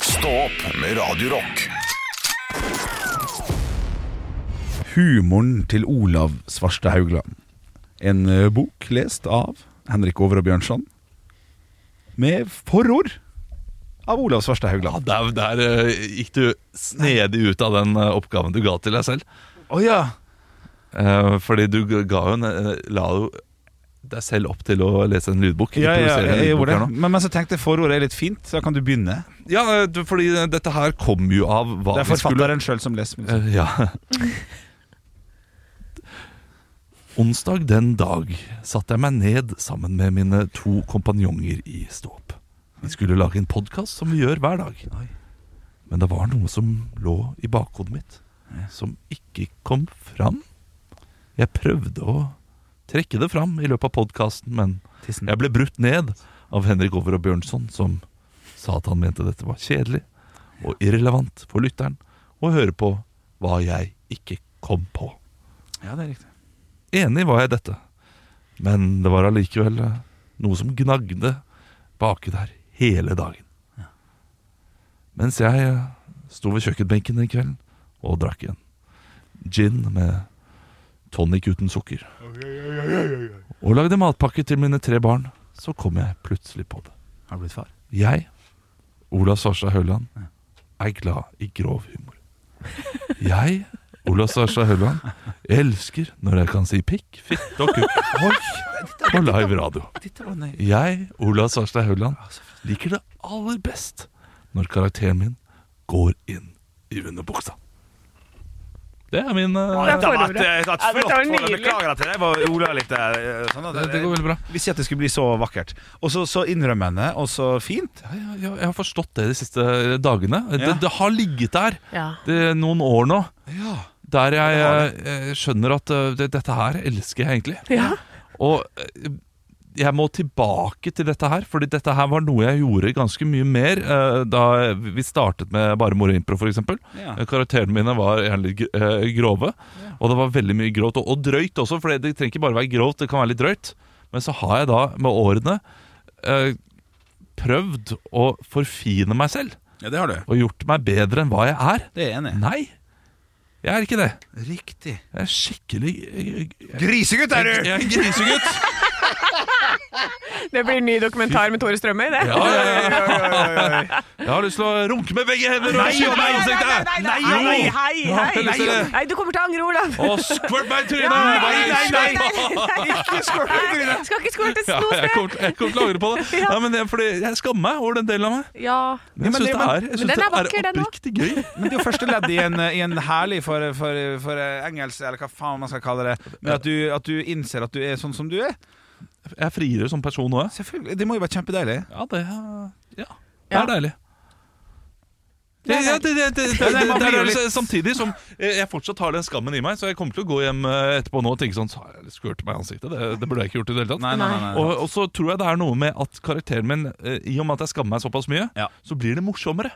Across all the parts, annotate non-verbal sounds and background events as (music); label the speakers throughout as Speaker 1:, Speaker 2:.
Speaker 1: Stå opp med Radio Rock.
Speaker 2: Humoren til Olav Svarstad Haugland. En eh, bok lest av Henrik Over og Bjørnson. Med forord av Olav Svarstad
Speaker 3: Ja,
Speaker 2: Haugland.
Speaker 3: der, der eh, gikk du snedig ut av den eh, oppgaven du ga til deg selv.
Speaker 2: Å ja.
Speaker 3: Eh, fordi du g- ga jo en, eh, la jo deg selv opp til å lese en lydbok.
Speaker 2: Ja, ja,
Speaker 3: improvisere en
Speaker 2: jeg
Speaker 3: lydbok
Speaker 2: gjorde det.
Speaker 3: her nå.
Speaker 2: Men, men så tenkte jeg forordet er litt fint, så da kan du begynne.
Speaker 3: Ja, eh, du- fordi eh, dette her kom jo av hva
Speaker 2: Det er
Speaker 3: vi skulle
Speaker 2: forfatteren sjøl som leser.
Speaker 3: Eh, Ja. Onsdag den dag satte jeg meg ned sammen med mine to kompanjonger i Ståp. Vi skulle lage en podkast som vi gjør hver dag. Men det var noe som lå i bakhodet mitt, som ikke kom fram. Jeg prøvde å trekke det fram i løpet av podkasten, men
Speaker 2: Eh, Tissen.
Speaker 3: jeg ble brutt ned av Henrik Over og Bjørnson, som sa at han mente dette var kjedelig og irrelevant for lytteren å høre på hva jeg ikke kom på.
Speaker 2: Ja, det er riktig.
Speaker 3: Enig var jeg i dette, men det var allikevel eh, noe som gnagde baki der hele dagen. Mens jeg eh, sto ved kjøkkenbenken den kvelden og drakk en gin med tonic uten sukker. Og lagde matpakke til mine tre barn, så kom jeg plutselig på det.
Speaker 2: Har du blitt far?
Speaker 3: Jeg, Olav Svarstad Høland,
Speaker 2: Ja.
Speaker 3: er glad i grov humor. Jeg, Olav Svarstad Høland, elsker når jeg kan si pikk, fitte og kukk på live radio.
Speaker 2: Dette var nøye.
Speaker 3: Jeg, Olav Svarstad Høland, liker det aller best når karakteren min går inn i underbuksa. Det er min eh,
Speaker 4: Dette var et, et, et
Speaker 5: Ja, dette
Speaker 4: flott
Speaker 5: var
Speaker 4: forhold.
Speaker 5: nydelig.
Speaker 4: Beklager at jeg var Ola litt eh, sånn at
Speaker 3: det, det går veldig bra.
Speaker 2: Hvis ikke at det skulle bli så vakkert. Og så, så innrømmende, og så fint.
Speaker 3: Ja, ja, ja, jeg har forstått det de siste dagene. Det,
Speaker 2: Ja.
Speaker 3: det har ligget der
Speaker 5: Ja.
Speaker 3: det, noen år nå.
Speaker 2: Ja.
Speaker 3: Der jeg, eh, skjønner at eh, det, dette her elsker jeg egentlig.
Speaker 5: ja.
Speaker 3: Og eh, jeg må tilbake til dette her, fordi dette her var noe jeg gjorde ganske mye mer eh, da vi startet med Bare moro impro, f.eks.
Speaker 2: Ja.
Speaker 3: Karakterene mine var gjerne litt gr- eh, grove, og det var veldig mye grovt. Og, og drøyt også, for det trenger ikke bare være grovt, det kan være litt drøyt. Men så har jeg da med årene eh, prøvd å forfine meg selv,
Speaker 2: det har du.
Speaker 3: og gjort meg bedre enn hva jeg er.
Speaker 2: Det er jeg enig i.
Speaker 3: Nei, jeg er ikke det.
Speaker 2: Riktig.
Speaker 3: Jeg er skikkelig jeg, jeg,
Speaker 2: Grisegutt er
Speaker 3: jeg
Speaker 2: du!
Speaker 3: er en grisegutt!
Speaker 5: Det blir en ny dokumentar med Tore Strømøy, det.
Speaker 3: Ja, ja, ja. Jeg har lyst til å runke med begge hender og skyte meg i ansiktet!
Speaker 5: nei, nei, nei, nei, hei, hei,
Speaker 3: Nei,
Speaker 5: hei.
Speaker 3: nei.
Speaker 5: Nei, du kommer til å angre, Olav.
Speaker 3: Og skvørt meg i trynet!
Speaker 5: Nei,
Speaker 2: nei, nei, nei.
Speaker 5: Ikke skål i trynet. Skal ikke skåle til
Speaker 3: Ja,
Speaker 5: noe
Speaker 3: jeg
Speaker 5: sted.
Speaker 3: kommer til- jeg kommer til å angre på
Speaker 5: (laughs)
Speaker 3: det. Nei, men jeg, fordi jeg skammer meg over den delen av meg.
Speaker 5: Ja.
Speaker 2: men
Speaker 3: Men jeg syns
Speaker 2: det-
Speaker 3: det er, jeg
Speaker 5: men
Speaker 3: synes
Speaker 5: den er
Speaker 3: det
Speaker 5: vakker,
Speaker 3: er
Speaker 5: den også.
Speaker 3: oppriktig gøy.
Speaker 2: (laughs) Men det er jo første ledd i en, i en herlig for, for, for engelsk, eller hva faen man skal kalle det, med at du, at du innser at du er sånn som du er.
Speaker 3: Jeg er friere som person nå, jeg.
Speaker 2: Selvfølgelig. Det må jo være kjempedeilig.
Speaker 3: Ja, det er, ja. Det
Speaker 5: Ja.
Speaker 3: er deilig. Ja, ja, det, det, det, det,
Speaker 2: Ja, nei,
Speaker 3: det,
Speaker 2: man
Speaker 3: det
Speaker 2: blir jo
Speaker 3: er jo samtidig som eh, jeg fortsatt har den skammen i meg, så jeg kommer til å gå hjem eh, etterpå nå og tenke sånn Så har jeg skvørte meg i ansiktet. Det, det burde jeg ikke gjort i det hele tatt.
Speaker 2: Nei, nei, nei, nei.
Speaker 3: Og, og så tror jeg det er noe med at karakteren min eh, I og med at jeg skammer meg såpass mye,
Speaker 2: Ja.
Speaker 3: så blir det morsommere.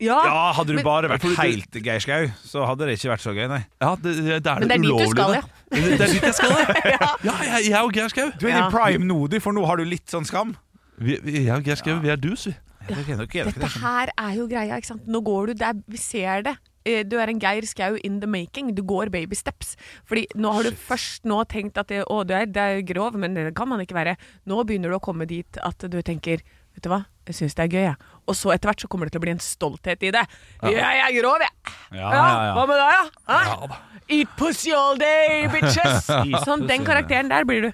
Speaker 5: ja.
Speaker 2: Ja, hadde du
Speaker 5: Men-
Speaker 2: bare vært
Speaker 3: Fordi du-
Speaker 2: helt Geir Skau, så hadde det ikke vært så gøy, nei.
Speaker 3: Ja, det, det er
Speaker 5: Men det er dit du
Speaker 3: ulovlige,
Speaker 5: skal,
Speaker 3: det. Det er dit jeg skal, ja. ja jeg, jeg og Geir Skau.
Speaker 2: Du er i
Speaker 5: Ja.
Speaker 2: prime nå, du, for nå har du litt sånn skam.
Speaker 3: Vi, vi- jeg og Geir Skau, vi er dus, vi.
Speaker 2: Ja, det er nok- er det ikke
Speaker 5: Dette
Speaker 2: det?
Speaker 5: her er jo greia, ikke sant. Nå går du der, vi ser det. Eh, Du er en Geir Skau in the making. Du går baby steps. Fordi nå har du først nå tenkt at det, å, du er, det er grov, men det kan man ikke være. Nå begynner du å komme dit at du tenker Vet du hva, jeg syns det er gøy, jeg. Og så etter hvert så kommer det til å bli en stolthet i det. Ja, jeg er grov, jeg.
Speaker 2: Ja,
Speaker 5: Ja,
Speaker 2: ja,
Speaker 5: hva
Speaker 2: ja.
Speaker 5: med deg, da? Hæ?
Speaker 3: Ja, da.
Speaker 5: Eat pussy all day,
Speaker 2: (laughs)
Speaker 5: bitches! Sånn, den karakteren der blir du.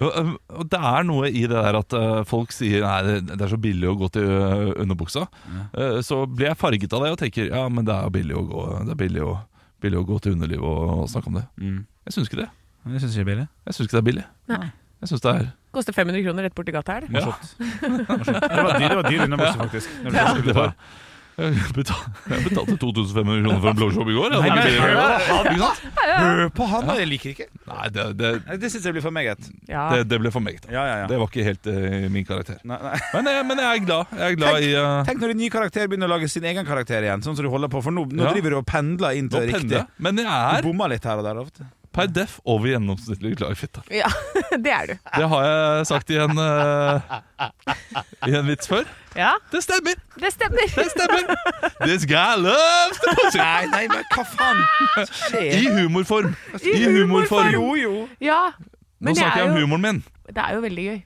Speaker 3: Og, um, og det er noe i det der at uh, folk sier Nei, det- det er så billig å gå til uh, underbuksa. Uh, så blir jeg farget av det og tenker ja, men det er jo billig å gå, det er billig å, billig å gå til underlivet og, og snakke om det.
Speaker 2: Mm.
Speaker 3: Jeg syns ikke det.
Speaker 2: Det syns jeg er billig.
Speaker 3: Jeg syns ikke det er billig.
Speaker 5: Nei.
Speaker 3: Jeg syns det er
Speaker 5: Koster 500 kroner rett borti gata her, det.
Speaker 2: Morsomt. Morsomt. Det var dyr, det var dyr underbukse, faktisk. Når du skulle
Speaker 3: det
Speaker 2: ta.
Speaker 3: var, jeg, betal, jeg betalte 2500 kroner for en blowjob i går. jeg.
Speaker 2: Nei, men
Speaker 3: Det er ikke
Speaker 2: hør på han,
Speaker 3: billig.
Speaker 2: ikke sant? Hør på han, og jeg liker ikke.
Speaker 3: Nei, det, det,
Speaker 2: Nei, Det syns jeg blir for meget.
Speaker 5: Ja.
Speaker 3: det, det ble for meget.
Speaker 2: Ja, ja, ja.
Speaker 3: Det var ikke helt eh, min karakter.
Speaker 2: Nei, nei.
Speaker 3: Men, jeg- men jeg er glad. Jeg er glad i eh,
Speaker 2: Tenk når en ny karakter begynner å lage sin egen karakter igjen. Sånn som du holder på For nå, nå
Speaker 3: Ja.
Speaker 2: driver du og pendler inn
Speaker 3: å
Speaker 2: til riktig.
Speaker 3: pendle. Men jeg
Speaker 2: Du
Speaker 3: er
Speaker 2: bommer litt her og der ofte.
Speaker 3: Per deff over gjennomsnittlig glad i fitte.
Speaker 5: Ja, (laughs) det er du.
Speaker 3: Det har jeg sagt i en, eh, i en vits før.
Speaker 5: Ja,
Speaker 3: Det stemmer!
Speaker 5: det stemmer.
Speaker 3: Det stemmer! This guy loves the pussy!
Speaker 2: Nei, nei, men hva faen?
Speaker 3: I humorform. I humorform.
Speaker 2: jo.
Speaker 5: Ja.
Speaker 3: Nå
Speaker 5: Men det
Speaker 3: snakker jeg
Speaker 5: er,
Speaker 3: om
Speaker 5: jo,
Speaker 3: humoren min.
Speaker 5: det er jo veldig gøy.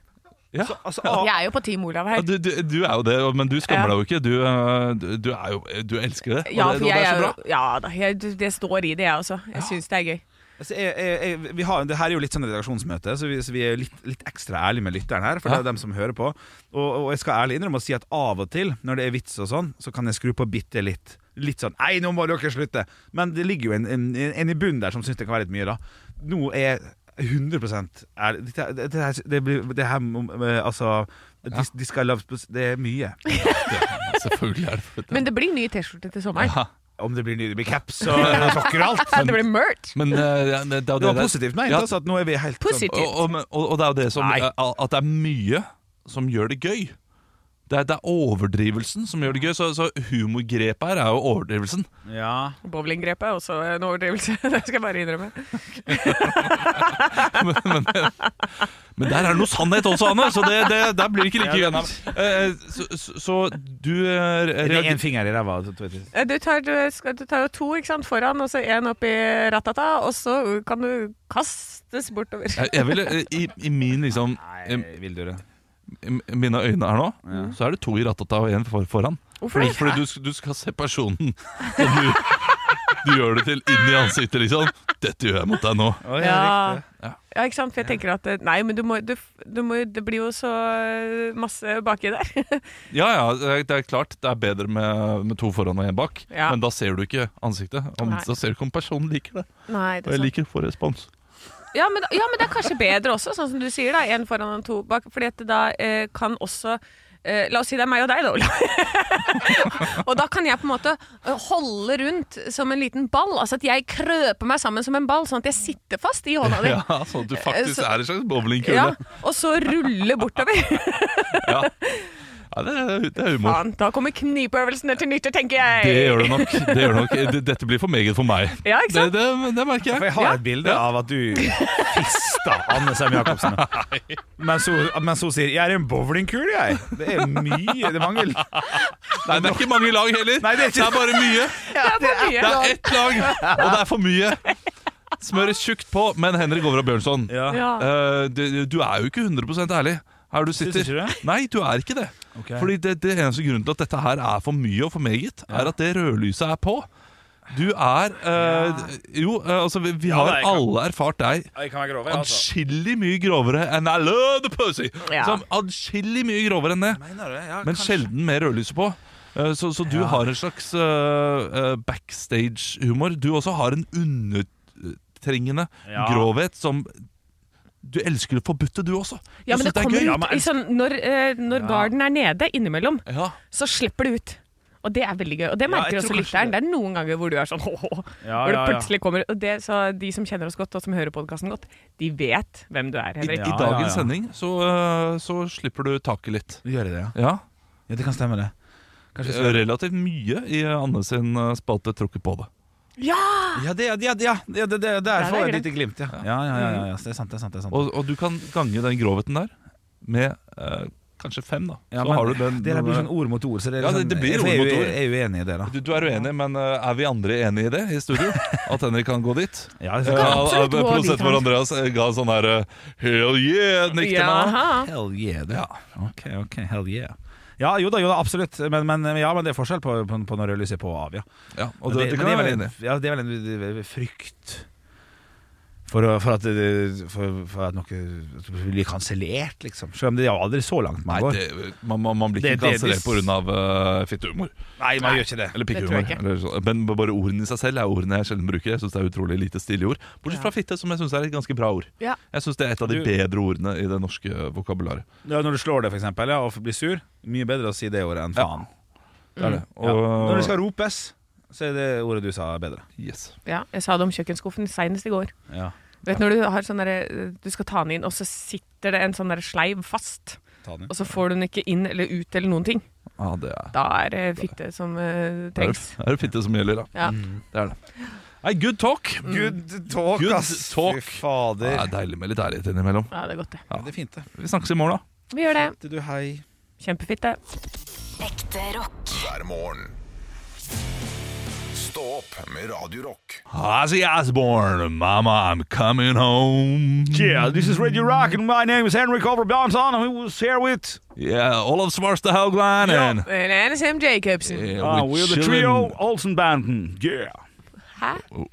Speaker 3: Ja.
Speaker 6: Altså, ah,
Speaker 5: Jeg er jo på Team Olav
Speaker 3: Ja,
Speaker 5: her.
Speaker 3: Du, du, du er jo det, men du skammer
Speaker 5: Ja.
Speaker 3: deg jo ikke. Du, eh, du, du, er jo, du elsker det. og
Speaker 5: Ja,
Speaker 3: det,
Speaker 5: for
Speaker 3: og
Speaker 5: jeg
Speaker 3: det er
Speaker 5: er
Speaker 3: så
Speaker 5: jo
Speaker 3: bra.
Speaker 5: Ja da, jeg, det står i det, jeg også. Jeg syns det er gøy.
Speaker 2: Altså, jeg, jeg, jeg, vi har, det her er jo litt sånn redaksjonsmøte, så vi, så vi er litt, litt ekstra ærlige med lytteren her. For det er jo dem som hører på. Og, og jeg skal ærlig innrømme å si at av og til, når det er vits og sånn, så kan jeg skru på bitte litt. Litt sånn Nei, nå må dere slutte! Men det ligger jo en, en, en i bunnen der som syns det kan være litt mye, da. Nå er jeg 100 ærlig. Dette, det, det, her- det blir det her må- Altså de, de skal love, Det er mye.
Speaker 3: Ja, Selvfølgelig er det for det.
Speaker 5: Men det blir ny T-skjorte til sommeren.
Speaker 3: Ja.
Speaker 2: Om det blir nye det blir caps
Speaker 3: (laughs)
Speaker 2: og sokker og alt.
Speaker 5: Det blir merch.
Speaker 3: Men eh, ja, det, det, er jo
Speaker 2: Det var
Speaker 3: det-
Speaker 2: positivt ment,
Speaker 3: Ja,
Speaker 2: altså. At nå er vi helt sånn-
Speaker 5: Positivt.
Speaker 3: Og, og, men- og, og det er jo det som
Speaker 2: Nei.
Speaker 3: eh, At det er mye som gjør det gøy. Det er, det er overdrivelsen som gjør det gøy. Så, så humorgrepet her er jo overdrivelsen.
Speaker 2: Ja.
Speaker 5: Bowlinggrepet er også en overdrivelse. (laughs) Det skal jeg bare innrømme.
Speaker 3: Men, men, men der er det noe sannhet også, Anne, så det, det, der blir det ikke like gøy. Eh, Så, så, så du eh,
Speaker 2: Det
Speaker 3: reager-
Speaker 2: er én finger i ræva. så tror jeg.
Speaker 5: Eh, Du tar, du, skal, du tar jo to ikke sant, foran, og så én oppi ratata, og så kan du kastes bortover.
Speaker 3: Jeg, jeg ville, eh, i, I min liksom
Speaker 2: Nei,
Speaker 3: i-
Speaker 2: vil du det?
Speaker 3: i mine øyne her nå, så er det to i ratata og én for, foran.
Speaker 5: Hvorfor
Speaker 3: Fordi,
Speaker 5: det?
Speaker 3: fordi du, sk- du skal se personen som du, du gjør det til, inn i ansiktet, liksom. 'Dette gjør jeg mot deg nå'.
Speaker 5: Ja.
Speaker 3: Ja.
Speaker 5: ja, ikke sant? For jeg tenker at eh, Nei, men du må, du, f- du må Det blir jo så eh, masse baki der.
Speaker 3: Ja ja, det er- det er klart det er bedre med, med to foran og én bak,
Speaker 5: Ja.
Speaker 3: men da ser du ikke ansiktet. Og
Speaker 5: Nei.
Speaker 3: da ser du ikke om personen liker det.
Speaker 5: Nei,
Speaker 3: Og
Speaker 5: det
Speaker 3: jeg
Speaker 5: er sant.
Speaker 3: liker å få respons.
Speaker 5: Ja men, ja, men det er kanskje bedre også, sånn som du sier. da Én foran og to bak. Fordi at det da eh, kan også eh, La oss si det er meg og deg, da, Olav. (laughs) og da kan jeg på en måte eh, holde rundt som en liten ball. Altså at jeg krøper meg sammen som en ball, sånn at jeg sitter fast i hånda di.
Speaker 3: Ja, Sånn at du faktisk
Speaker 5: Så-
Speaker 3: er en slags bowlingkule.
Speaker 5: Ja,
Speaker 3: Ja.
Speaker 5: og så rulle
Speaker 3: (laughs)
Speaker 5: bortover.
Speaker 3: det, er, det er humor.
Speaker 5: Faen, da kommer knipeøvelsene til nytte, tenker jeg.
Speaker 3: Det gjør det nok. Det gjør det nok. Det- Dette blir for meget for meg.
Speaker 5: Ja, ikke
Speaker 3: Det,
Speaker 5: sant?
Speaker 3: det, det merker jeg.
Speaker 2: For jeg har et bilde av at du fista Anne Sem (laughs) Jacobsen. Mens hun, mens hun sier 'jeg er en bowlingkule, jeg'. Det er mye Det mangler
Speaker 3: Nei, det er ikke mange lag heller.
Speaker 2: Nei, det er ikke-
Speaker 3: bare mye.
Speaker 5: det er
Speaker 3: Det
Speaker 5: for mye.
Speaker 3: er ett lag, og det er for mye. Smøres tjukt på, men Henrik Over og Bjørnson,
Speaker 2: Ja.
Speaker 5: Ja.
Speaker 3: eh, du, du er jo ikke 100 ærlig her du sitter.
Speaker 2: Synes du ikke det?
Speaker 3: Nei, du er ikke det.
Speaker 2: Ok.
Speaker 3: Fordi det, det eneste grunnen til at dette her er for mye og for meget, er at det rødlyset er på. Du er eh, Jo, eh, altså, vi, vi har
Speaker 6: det er klart.
Speaker 3: alle erfart deg
Speaker 2: Jeg kan være grov, jeg, altså.
Speaker 3: Adskillig mye grovere enn I love the pussy!
Speaker 5: Ja.
Speaker 3: Som Adskillig mye grovere enn det.
Speaker 2: Mener du det? Ja,
Speaker 3: Men
Speaker 2: kanskje.
Speaker 3: sjelden med rødlyset på. Eh, Så, så du har en slags eh, eh, backstage-humor. Du også har en undertrengende
Speaker 6: Ja.
Speaker 3: grovhet som Du elsker det forbudte, du også.
Speaker 5: Ja, men
Speaker 3: du
Speaker 5: det
Speaker 3: syns er
Speaker 5: kommer
Speaker 3: gøy.
Speaker 5: ut i sånn Når, eh, når garden er nede innimellom,
Speaker 3: Ja.
Speaker 5: så slipper det ut. Og det er veldig gøy. Og det merker
Speaker 2: jeg
Speaker 5: også
Speaker 2: tror kanskje
Speaker 5: lytteren. Det er noen ganger hvor du er sånn (laughs) åh, åh,
Speaker 2: Ja,
Speaker 5: Hvor det
Speaker 2: ja, ja.
Speaker 5: plutselig kommer og det, Så de som kjenner oss godt, og som hører podkasten godt, de vet hvem du
Speaker 3: I,
Speaker 5: er, Henrik.
Speaker 3: I
Speaker 2: Ja, ja,
Speaker 3: dagens
Speaker 2: ja.
Speaker 3: sending så, eh, så slipper du taket litt.
Speaker 2: Du gjør det, ja.
Speaker 3: Ja. Eh,
Speaker 2: ja? Det kan stemme, det. Kanskje vi skal-
Speaker 3: Relativt mye i Anne sin eh, spalte tråkket på det.
Speaker 5: Ja!
Speaker 2: Ja, det, ja, det- ja, det, det, det, der
Speaker 5: er
Speaker 2: får jeg et
Speaker 5: greit.
Speaker 2: lite glimt, ja. Mm. Ja, ja, ja, ja, ja. Det er sant, det er sant. Det er sant.
Speaker 3: Og, og du kan gange den grovheten der med eh, kanskje fem, da.
Speaker 2: Ja,
Speaker 3: så
Speaker 2: men
Speaker 3: har du den.
Speaker 2: det der blir sånn ord mot ord, så det er
Speaker 3: Ja,
Speaker 2: liksom,
Speaker 3: det- det blir
Speaker 2: jeg-
Speaker 3: ord
Speaker 2: jeg er
Speaker 3: mot
Speaker 2: jo-
Speaker 3: ord.
Speaker 2: Jeg er jo enig i det, da.
Speaker 3: Du, du er uenig, men eh, er vi andre enig i det i studio? At Henrik kan gå dit?
Speaker 2: Ja, det er
Speaker 5: kan
Speaker 3: Ja,
Speaker 2: sant.
Speaker 5: absolutt
Speaker 3: ja,
Speaker 5: gå
Speaker 3: produsent
Speaker 5: dit,
Speaker 3: vår
Speaker 5: han.
Speaker 3: Andreas eh, ga sånn her eh, Hell yeah! Nikk til meg.
Speaker 5: Jaha.
Speaker 2: Hell yeah, du. Ok, ok, hell yeah. Ja, jo da, jo da, absolutt. Men, men, ja, men det er forskjell på, på, på når rødlyset er på og av, ja.
Speaker 3: Ja, og
Speaker 2: Men
Speaker 3: det, det kan jeg
Speaker 2: men
Speaker 3: være
Speaker 2: det
Speaker 3: enig i.
Speaker 2: er vel en, ja, det er vel en det er frykt for, å- for, at, det- for, for at noe at det blir kansellert, liksom. Selv om det er jo aldri så langt
Speaker 3: Nei,
Speaker 2: man går.
Speaker 3: det, man, man, man blir
Speaker 2: Det er
Speaker 3: ikke
Speaker 2: det de
Speaker 3: kansellert
Speaker 2: s-
Speaker 3: pga. Uh, fittehumor.
Speaker 2: Nei, man gjør ikke det.
Speaker 3: Eller
Speaker 5: Det tror jeg
Speaker 3: pikkehumor.
Speaker 5: ikke.
Speaker 3: eller sånn. Men bare ordene i seg selv er ordene jeg sjelden bruker. Jeg synes det er utrolig lite stilige ord Bortsett fra fitte, som jeg syns er et ganske bra ord.
Speaker 5: Ja.
Speaker 3: Jeg syns det er et av de
Speaker 2: Du-
Speaker 3: bedre ordene i det norske vokabularet.
Speaker 2: Ja, når du slår det, for eksempel, ja, og blir sur, mye bedre å si det ordet enn
Speaker 3: Ja.
Speaker 2: faen.
Speaker 3: Det er det.
Speaker 2: Mm. Ja.
Speaker 3: Og,
Speaker 2: Når det skal ropes, så er det ordet du sa, bedre.
Speaker 3: yes.
Speaker 5: Ja, jeg sa det om kjøkkenskuffen senest i går.
Speaker 2: Ja.
Speaker 5: Vet du når du har sånn derre Du skal ta den inn, og så sitter det en sånn derre sleiv fast.
Speaker 2: Ta den.
Speaker 5: Og så får du den ikke inn eller ut eller noen ting.
Speaker 3: Ja, Ah, det er
Speaker 5: Da er det fitte som
Speaker 3: da er
Speaker 5: eh, trengs.
Speaker 2: Mm.
Speaker 3: det- da er det fitte som gjelder, da.
Speaker 5: Ja.
Speaker 3: Det er det. Nei, good talk!
Speaker 7: Good talk,
Speaker 3: Good
Speaker 7: ass.
Speaker 3: talk.
Speaker 7: Fy fader.
Speaker 3: Det er deilig med litt ærlighet innimellom.
Speaker 5: Ja, det er godt, det.
Speaker 7: Men Det er fint, det.
Speaker 3: Vi snakkes i morgen, da.
Speaker 5: Vi gjør det.
Speaker 7: Det Du, hei.
Speaker 5: Kjempefint, det.
Speaker 8: Ekte rock.
Speaker 1: hver morgen. Stå opp med Radio Rock.
Speaker 3: Ozzy Osbourne, mama, I'm coming home.
Speaker 2: Yeah, this is Radio Rock, and my name is Henrik Over Bjørnson, and we was here with
Speaker 3: Yeah, Olav Svarstad Haugland. and-
Speaker 5: Men er det Sam Jacobsen?
Speaker 3: Yeah,
Speaker 2: Ah,
Speaker 3: we're
Speaker 2: We're the
Speaker 3: chilling.
Speaker 2: trio Olsenbanden. Yeah.
Speaker 5: Hæ?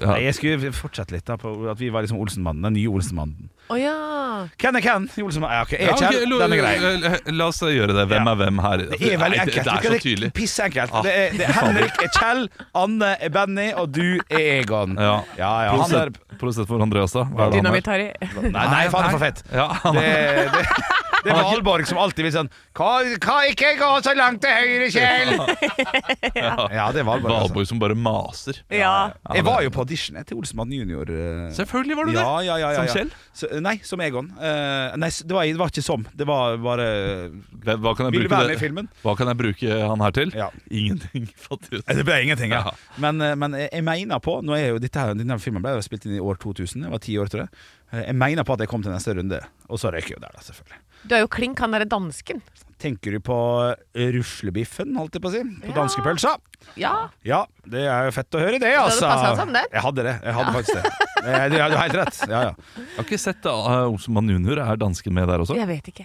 Speaker 3: Ja.
Speaker 2: Nei, Jeg skulle fortsette litt da på at vi var liksom Olsenbanden. Den nye Olsenbanden.
Speaker 5: Å ja.
Speaker 2: Hvem er hvem? i Olsenbanden? Ja, ok,
Speaker 3: Ja,
Speaker 2: jeg
Speaker 3: ok,
Speaker 2: kjenner
Speaker 3: lo-
Speaker 2: Den er grei.
Speaker 3: la- La oss gjøre det. Hvem
Speaker 2: Ja.
Speaker 3: er hvem her?
Speaker 2: Det er veldig
Speaker 3: Nei,
Speaker 2: enkelt.
Speaker 3: Det, det er så tydelig.
Speaker 2: Pissenkelt.
Speaker 3: Ah,
Speaker 2: Det er,
Speaker 3: (laughs)
Speaker 2: det er Henrik er Kjell, Anne er Benny, og du er Egon.
Speaker 3: Ja.
Speaker 2: Ja, ja, han er
Speaker 3: Produsent, produsent for Andreas, da? Hva er det han er?
Speaker 5: Dynamitt-Harry.
Speaker 2: Nei, nei, faen, det er for fett.
Speaker 3: Ja, han
Speaker 2: Det,
Speaker 3: er.
Speaker 2: det, det er Valborg som alltid vil sånn Hva, hva ikke gå så langt til høyre, Kjell? Ja, det er Valborg. Altså.
Speaker 3: Valborg som bare maser.
Speaker 5: Ja.
Speaker 3: Ja,
Speaker 2: Jeg
Speaker 3: det-
Speaker 2: var jo på audition jeg, til Olsenmann junior. eh.
Speaker 3: Selvfølgelig var du det!
Speaker 2: Ja, ja, ja, ja, ja.
Speaker 3: Som Kjell?
Speaker 2: Så, nei, som Egon. Eh, nei, s- det var, det var ikke som. Det var bare
Speaker 3: Hva hva kan, jeg
Speaker 2: Vil du være
Speaker 3: bruke
Speaker 2: med i
Speaker 3: det?
Speaker 2: filmen?
Speaker 3: hva kan jeg bruke han her til?
Speaker 2: Ja.
Speaker 3: Ingenting. Fattig.
Speaker 2: Eh, Det ble ingenting, ja.
Speaker 3: Ja.
Speaker 2: Men, eh, men jeg mener på Nå er jo dette her, Denne filmen ble jo spilt inn i år 2000. Jeg var ti år, tror jeg. Eh, Jeg mener på at jeg kom til neste runde, og så røyker jeg jo der, da, selvfølgelig.
Speaker 5: Du er jo klink han derre dansken.
Speaker 2: Tenker du på eh, ruslebiffen, holdt jeg på å si? På
Speaker 5: Ja.
Speaker 2: danskepølsa?
Speaker 5: Ja.
Speaker 2: Ja, det er jo fett å høre det,
Speaker 5: hadde
Speaker 2: altså.
Speaker 5: passet som den.
Speaker 2: Jeg hadde det. Jeg hadde faktisk det.
Speaker 5: (laughs)
Speaker 2: Eh, Du har helt rett. Ja, ja.
Speaker 3: Jeg har ikke sett uh, Olsenmann junior. Er dansken med der også?
Speaker 5: Jeg vet ikke.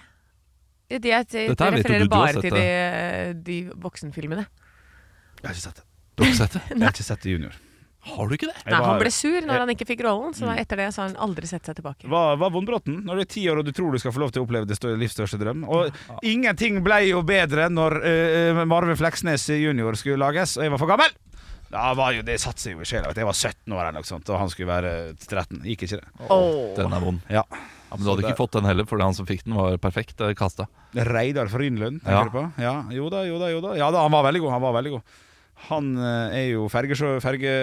Speaker 5: Det, det, jeg- jeg
Speaker 3: Dette her vet jo
Speaker 5: refererer
Speaker 3: du, du har
Speaker 5: bare
Speaker 3: sett
Speaker 5: til de, de voksenfilmene.
Speaker 2: Jeg har ikke sett det.
Speaker 3: Du har ikke sett det?
Speaker 2: Jeg har ikke sett det junior.
Speaker 3: Har du ikke det?
Speaker 2: Jeg
Speaker 5: Nei, han
Speaker 2: var-
Speaker 5: ble sur når han ikke fikk rollen, så da etter det så har han aldri sett seg tilbake.
Speaker 2: Hva, hva vond Bråten? Når du er ti år og du tror du skal få lov til å oppleve det stør- livs største drøm. Og ingenting ble jo bedre når eh, Marve Fleksnes junior skulle lages, og jeg var for gammel! Da var jo, det satte seg jo i sjela. vet du. Jeg var 17 år eller noe sånt, og han skulle være 13. Gikk ikke det?
Speaker 5: Åh.
Speaker 3: Den er vond.
Speaker 2: Ja.
Speaker 3: Ja, men du hadde
Speaker 2: Så det-
Speaker 3: ikke fått den heller, for han som fikk den, var perfekt eh, kasta.
Speaker 2: Reidar Frynlund, tenker
Speaker 3: Ja.
Speaker 2: du på? Ja, jo da, jo da, jo da. Ja da, han var veldig god. Han var veldig god. Han eh, er jo fergesjå-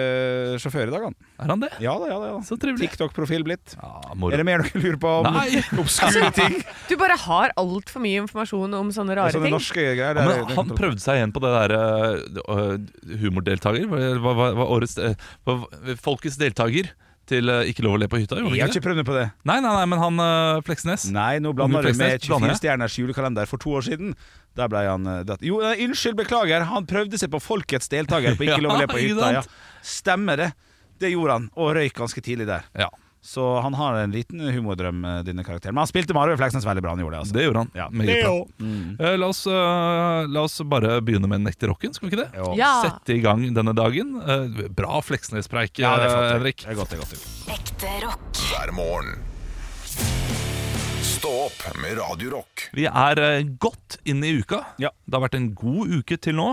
Speaker 2: fergesjåfør i dag, han.
Speaker 3: Er han det?
Speaker 2: Ja da, ja da. ja da.
Speaker 3: Så trivelig.
Speaker 2: TikTok-profil blitt.
Speaker 3: Ja,
Speaker 2: Er
Speaker 3: moro.
Speaker 2: det mer dere lurer på om (laughs)
Speaker 3: Nei. altså,
Speaker 2: obskure ting?
Speaker 5: Du bare har altfor mye informasjon om sånne rare
Speaker 2: Sånne
Speaker 5: ting.
Speaker 2: norske greier. det
Speaker 3: Ja,
Speaker 2: er-
Speaker 3: men han prøvde seg igjen på det der eh, eh, humordeltaker. Hva var årets eh, hva- Folkets deltaker til eh, Ikke lov å le på hytta? gjorde han
Speaker 2: Jeg har
Speaker 3: ikke det?
Speaker 2: ikke prøvd meg på det.
Speaker 3: Nei, nei, nei, men han eh, Fleksnes.
Speaker 2: Nei, nå blander
Speaker 3: Unge
Speaker 2: du med
Speaker 3: Fleksnes,
Speaker 2: 24
Speaker 3: blander jeg?
Speaker 2: stjerners julekalender for to år siden. Der ble han eh, datt. Jo, nei, unnskyld, beklager. Han prøvde seg på Folkets deltaker på Ikke lov å le på
Speaker 3: Ja, ikke
Speaker 2: hytta. Ja.
Speaker 3: sant?
Speaker 2: Stemmer det. Det gjorde han, og røyk ganske tidlig der.
Speaker 3: Ja,
Speaker 2: Så han har en liten humordrøm, eh, denne karakteren. Men han spilte Marve Fleksnes veldig bra. han gjorde det altså.
Speaker 3: det gjorde han.
Speaker 2: Ja.
Speaker 3: Meget bra. Eh, la, oss, eh, la oss bare begynne med Nekte rocken, skal vi ikke det?
Speaker 2: Jo.
Speaker 5: Ja.
Speaker 3: Sette i gang denne dagen. Eh, bra Fleksnes-preik,
Speaker 2: Ja, det er flott.
Speaker 3: eh,
Speaker 2: det.
Speaker 3: Henrik.
Speaker 2: Det er godt, det er godt.
Speaker 8: Ekte rock.
Speaker 1: hver morgen. Stå opp med Radio Rock.
Speaker 3: Vi er eh, godt inne i uka.
Speaker 2: Ja. Mm.
Speaker 3: Det har vært en god uke til nå.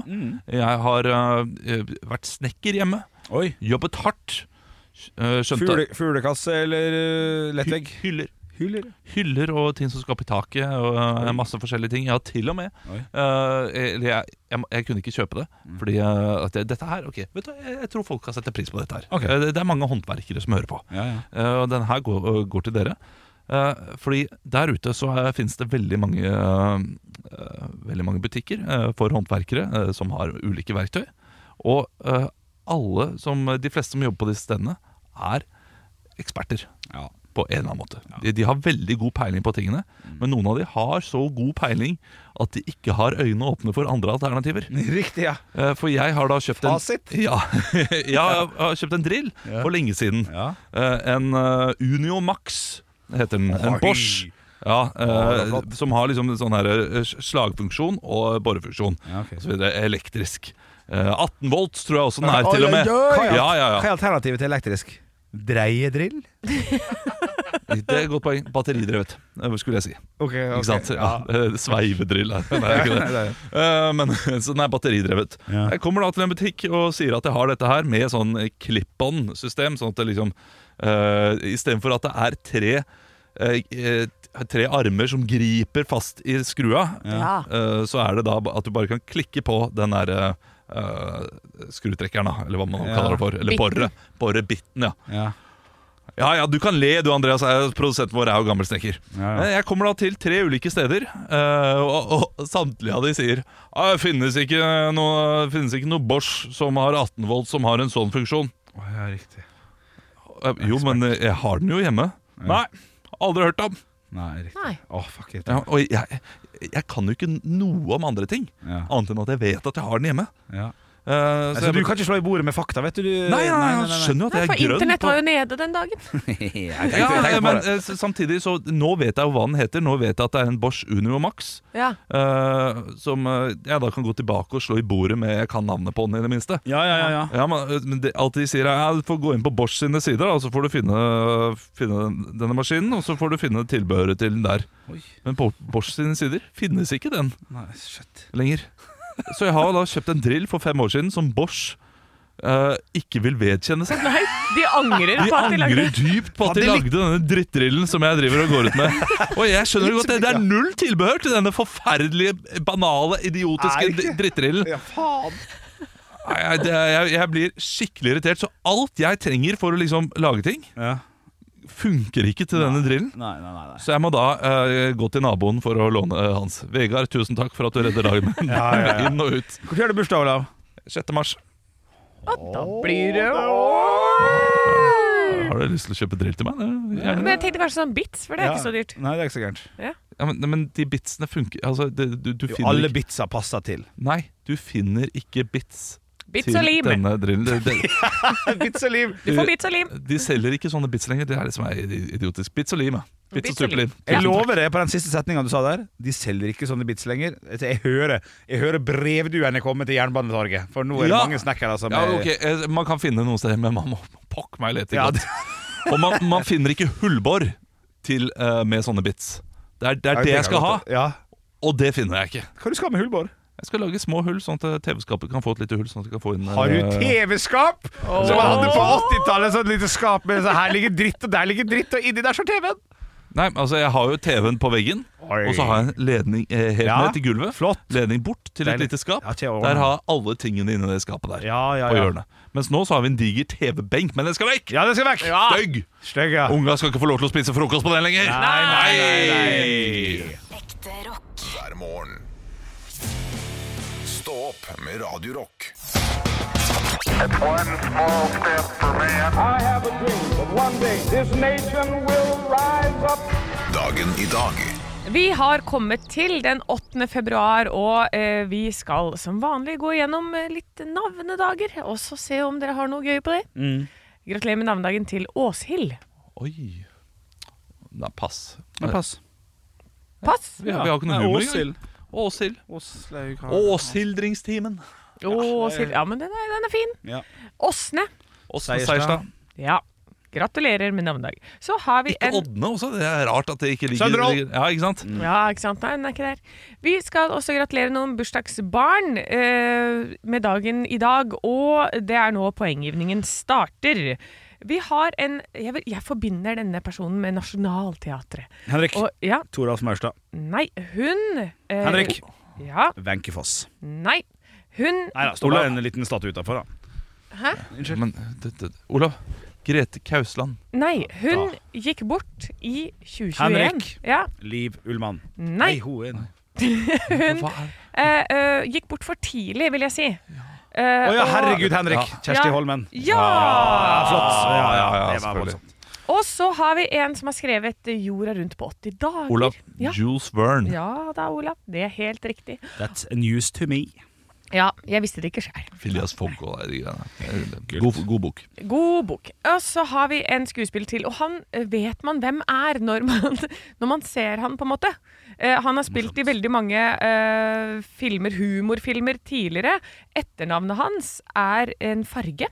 Speaker 3: Jeg har eh, eh, vært snekker hjemme,
Speaker 2: Oi.
Speaker 3: jobbet hardt. eh, skjønte
Speaker 2: Fugle, fuglekasse eller uh, lettvegg?
Speaker 3: Hy- Hyller.
Speaker 2: Hyller.
Speaker 3: Hyller og ting som skal opp i taket, og eh, masse forskjellige ting. Jeg har til og med
Speaker 2: Oi. Mm.
Speaker 3: eh, Eller jeg, jeg, må- jeg kunne ikke kjøpe det, fordi eh, at det, dette her Ok, vet du, hva, jeg, jeg tror folk har sett pris på dette her.
Speaker 2: Ok.
Speaker 3: Eh, det, det er mange håndverkere som hører på.
Speaker 2: Ja, ja.
Speaker 3: Eh, Og den her går, går til dere. Eh, Fordi der ute så eh, finnes det veldig mange, eh, eh, veldig mange butikker eh, for håndverkere eh, som har ulike verktøy. Og eh, alle som, de fleste som jobber på disse stedene, er eksperter
Speaker 2: Ja.
Speaker 3: på en eller annen måte. De, de har veldig god peiling på tingene,
Speaker 2: Mm.
Speaker 3: men noen av de har så god peiling at de ikke har øynene åpne for andre alternativer.
Speaker 2: (laughs) Riktig, ja.
Speaker 3: Eh, For jeg har da kjøpt
Speaker 2: Mm. Fasit?
Speaker 3: en Ja, (laughs) jeg har kjøpt en drill for lenge siden.
Speaker 2: Ja.
Speaker 3: Eh, En eh, Unio Max heter den. En
Speaker 2: Oi.
Speaker 3: Bosch. Ja, eh,
Speaker 2: det er flott.
Speaker 3: som har liksom en sånn her eh, s- slagfunksjon og borefunksjon.
Speaker 2: Ja, ok.
Speaker 3: Og så videre elektrisk. Eh, 18 volt tror jeg også den er, til og med.
Speaker 2: Hva er,
Speaker 3: Ja, ja,
Speaker 2: hva
Speaker 3: ja.
Speaker 2: er alternativet til elektrisk? Dreiedrill?
Speaker 3: Det er et godt poeng. Batteridrevet, eh, skulle jeg si.
Speaker 2: Okay, ok.
Speaker 3: Ikke sant? Ja, eh, (laughs) Sveivedrill er det er
Speaker 2: (laughs)
Speaker 3: ikke det.
Speaker 2: Nei, nei.
Speaker 3: Eh, Men, (laughs) så den er batteridrevet.
Speaker 2: Ja.
Speaker 3: Jeg kommer da til en butikk og sier at jeg har dette her med sånn klipp-on-system. Sånn at det liksom uh, Istedenfor at det er tre eh, eh, Tre armer som griper fast i skrua,
Speaker 5: Ja.
Speaker 3: eh, så er det da ba- at du bare kan klikke på den der eh, skrutrekkeren, da, eller hva man
Speaker 2: Ja.
Speaker 3: kaller det for. Eller
Speaker 5: Bitten.
Speaker 3: boret. Borebitten, ja.
Speaker 2: Ja.
Speaker 3: Ja, ja, du kan le du, Andreas. Eh, Produsenten vår er jo gammel snekker.
Speaker 2: Ja, ja.
Speaker 3: Eh, Jeg kommer da til tre ulike steder, eh, og, og samtlige av de sier ah, det finnes ikke noe, finnes ikke noe Bosch som har 18 volt som har en sånn funksjon.
Speaker 2: ja, riktig.
Speaker 3: Eh, Jo, men eh, jeg har den jo hjemme. Nei, aldri hørt om.
Speaker 7: Nei, riktig.
Speaker 5: Nei.
Speaker 7: Å, fuck it.
Speaker 3: Ja, og jeg, jeg kan jo ikke noe om andre ting,
Speaker 7: Ja.
Speaker 3: annet enn at jeg vet at jeg har den hjemme.
Speaker 7: Ja.
Speaker 3: Eh, så
Speaker 2: Altså,
Speaker 3: jeg-
Speaker 2: du kan ikke slå i bordet med fakta, vet du. du
Speaker 3: Nei, nei, nei, han skjønner jo at
Speaker 5: Nei,
Speaker 3: jeg
Speaker 5: for
Speaker 3: er grønn.
Speaker 5: internett
Speaker 3: på-
Speaker 5: var jo nede den dagen.
Speaker 2: (laughs)
Speaker 7: Jeg
Speaker 3: ja,
Speaker 7: tenkte- jeg tenkte
Speaker 3: men
Speaker 7: bare-
Speaker 3: eh, s- samtidig så Nå vet jeg jo hva den heter. Nå vet jeg at det er en Bosch Unio Max.
Speaker 5: Ja.
Speaker 3: eh, som eh, jeg da kan gå tilbake og slå i bordet med jeg kan navnet på den, i det minste.
Speaker 2: Ja, ja, ja, ja.
Speaker 3: Ja, men, eh, men det, Alt de sier er ja, du får gå inn på Bosch sine sider, da, og så får du finne, finne den- denne maskinen. Og så får du finne tilbehøret til den der.
Speaker 7: Oi.
Speaker 3: Men på Bosch sine sider finnes ikke den
Speaker 7: Nei, shit.
Speaker 3: lenger. Så jeg har da kjøpt en drill for fem år siden som Bosch eh, ikke vil vedkjenne seg.
Speaker 5: Nei, de angrer
Speaker 3: De
Speaker 5: på at de lagde
Speaker 3: angrer dypt på at de lagde denne drittdrillen som jeg driver og går ut med. Og jeg skjønner jo godt det, det er null tilbehør til denne forferdelige, banale, idiotiske
Speaker 2: Er det ikke?
Speaker 3: dri- drittdrillen.
Speaker 2: Ja, faen.
Speaker 3: Nei, nei, det er- Jeg, jeg blir skikkelig irritert. Så alt jeg trenger for å liksom lage ting,
Speaker 2: Ja.
Speaker 3: funker ikke til denne drillen.
Speaker 2: Nei, nei, nei. nei.
Speaker 3: Så jeg må da eh, gå til naboen for å låne eh, hans. Vegard, tusen takk for at du redder dagen
Speaker 2: (laughs)
Speaker 3: min.
Speaker 2: Ja, ja, ja.
Speaker 3: Inn og ut.
Speaker 2: Når har du bursdag, Olav?
Speaker 3: 6. mars.
Speaker 5: Og da blir det
Speaker 3: Har du lyst til å kjøpe drill til meg? Gjerne.
Speaker 5: Men jeg tenkte kanskje sånn bits, for det er ikke så dyrt.
Speaker 2: Nei, det er ikke så gærent.
Speaker 3: Ja, men, men de bitsene funker altså, det, du, du
Speaker 2: Jo,
Speaker 3: finner
Speaker 2: Alle
Speaker 3: ikke-
Speaker 2: bitsa passer til.
Speaker 3: Nei, du finner ikke bits
Speaker 5: Bits
Speaker 3: til
Speaker 5: og lim.
Speaker 3: denne drillen. Det- det-
Speaker 2: Bits og liv.
Speaker 5: Du får bits og lim.
Speaker 3: De selger ikke sånne bits lenger. Det er det som er idiotisk. Bits og lim, ja. Bits og
Speaker 5: Bits og lim.
Speaker 3: superlim.
Speaker 2: Jeg lover det på den siste setninga du sa der. De selger ikke sånne bits lenger. Altså, Jeg hører, jeg hører brevduene komme til Jernbanetorget, for nå er det
Speaker 3: Ja.
Speaker 2: mange snekkere som
Speaker 3: Ja,
Speaker 2: er-
Speaker 3: ok, eh, Man kan finne noe sted, men man må pokke meg lete
Speaker 2: Ja,
Speaker 3: godt. (laughs) Og man, man finner ikke hullbor til, eh, med sånne bits. Det er det, er
Speaker 2: Ja,
Speaker 3: det jeg
Speaker 2: tenker
Speaker 3: skal ha,
Speaker 2: godt, Ja.
Speaker 3: og det finner jeg ikke.
Speaker 2: Hva du skal du med hullbår?
Speaker 3: Jeg skal lage små hull, sånn at TV-skapet kan få et lite hull. Sånn at jeg kan få inn eh,
Speaker 2: Har du TV-skap? Som man hadde på 80-tallet. Sånn lite skap med så her ligger dritt, og der ligger dritt, og inni der står TV-en.
Speaker 3: Nei, altså Jeg har jo TV-en på veggen,
Speaker 2: Oi.
Speaker 3: og så har jeg en ledning eh, helt
Speaker 2: Ja,
Speaker 3: ned til gulvet. Ledning bort til et
Speaker 2: Deilig.
Speaker 3: lite skap.
Speaker 2: Ja, til å ordne.
Speaker 3: der har jeg alle tingene inni det skapet der.
Speaker 2: Ja, ja,
Speaker 3: På
Speaker 2: ja.
Speaker 3: hjørnet. Mens nå så har vi en diger TV-benk, men den skal vekk!
Speaker 2: Ja, det skal vekk. Ja.
Speaker 3: Stygg!
Speaker 2: Stygg, ja.
Speaker 3: Unga skal ikke få lov til å spise frokost på den lenger!
Speaker 2: Nei, nei, nei,
Speaker 3: nei.
Speaker 8: Ekte rock.
Speaker 1: hver morgen. Stå opp med Radio Rock.
Speaker 9: One small step for man. I have a dream that one day this nation will rise up.
Speaker 1: Dagen i dag
Speaker 5: Vi har kommet til den 8. februar, og eh, vi skal som vanlig gå gjennom eh, litt navnedager, og så se om dere har noe gøy på det. Gratulerer med navnedagen til Åshild.
Speaker 3: Oi. Nei, pass.
Speaker 2: pass.
Speaker 5: Pass!
Speaker 3: Vi har, vi har ikke noe
Speaker 2: Nei,
Speaker 3: humor
Speaker 2: Åshild.
Speaker 3: engang. Åshild.
Speaker 2: Åslaug
Speaker 3: Åshildringstimen.
Speaker 5: Åshild. Ja, men den er, den er fin.
Speaker 2: Ja.
Speaker 5: Åsne.
Speaker 3: Åsne
Speaker 2: Seierstad.
Speaker 3: Seierstad.
Speaker 5: Ja. Gratulerer med navnedag. Så har vi en
Speaker 3: Ådne også. Det er rart at det ikke ligger
Speaker 2: Sønderhold.
Speaker 3: ligger- Ja, ikke
Speaker 2: Mm.
Speaker 3: sant?
Speaker 5: Ja, ikke sant? Nei, den er ikke der. Vi skal også gratulere noen bursdagsbarn eh, med dagen i dag, og det er nå poenggivningen starter. Vi har en Jeg, vil, jeg forbinder denne personen med Nationaltheatret.
Speaker 2: (laughs) Henrik.
Speaker 5: Og ja,
Speaker 2: Toralf Maurstad.
Speaker 5: nei, hun eh,
Speaker 2: Henrik.
Speaker 5: Ja,
Speaker 2: Wenche Foss.
Speaker 5: nei. Hun
Speaker 2: Nei da, står det en liten statue utafor, da.
Speaker 3: Men det, det, Olav. Grete Kausland.
Speaker 5: Nei, hun gikk bort i 2021.
Speaker 2: Henrik.
Speaker 5: Ja,
Speaker 2: Liv Ullmann.
Speaker 5: nei.
Speaker 2: hun er en
Speaker 3: Hva er
Speaker 5: Eh, eh, gikk bort for tidlig, vil jeg si.
Speaker 2: Å
Speaker 5: Eh,
Speaker 2: ja,
Speaker 5: og-
Speaker 2: herregud, Henrik. Kjersti
Speaker 5: Ja.
Speaker 2: Holmen.
Speaker 5: Ja!
Speaker 2: Ja, flott. Ja, ja, ja,
Speaker 3: Ja,
Speaker 2: det var
Speaker 3: selvfølgelig.
Speaker 2: voldsomt.
Speaker 5: Og så har vi en som har skrevet eh, 'Jorda rundt på 80 dager'.
Speaker 3: Olav.
Speaker 5: Ja.
Speaker 3: Jules Verne.
Speaker 5: Ja da, Olav. Det er helt riktig.
Speaker 2: That's news to me.
Speaker 5: Ja, jeg visste det ikke sjøl.
Speaker 3: Phileas Fogg og de greiene. God, god bok.
Speaker 5: God bok. Og så har vi en skuespiller til, og han eh, vet man hvem er når man, (laughs) når man ser han, på en måte. Eh, han har spilt i veldig mange eh, filmer, humorfilmer tidligere. Etternavnet hans er en farge,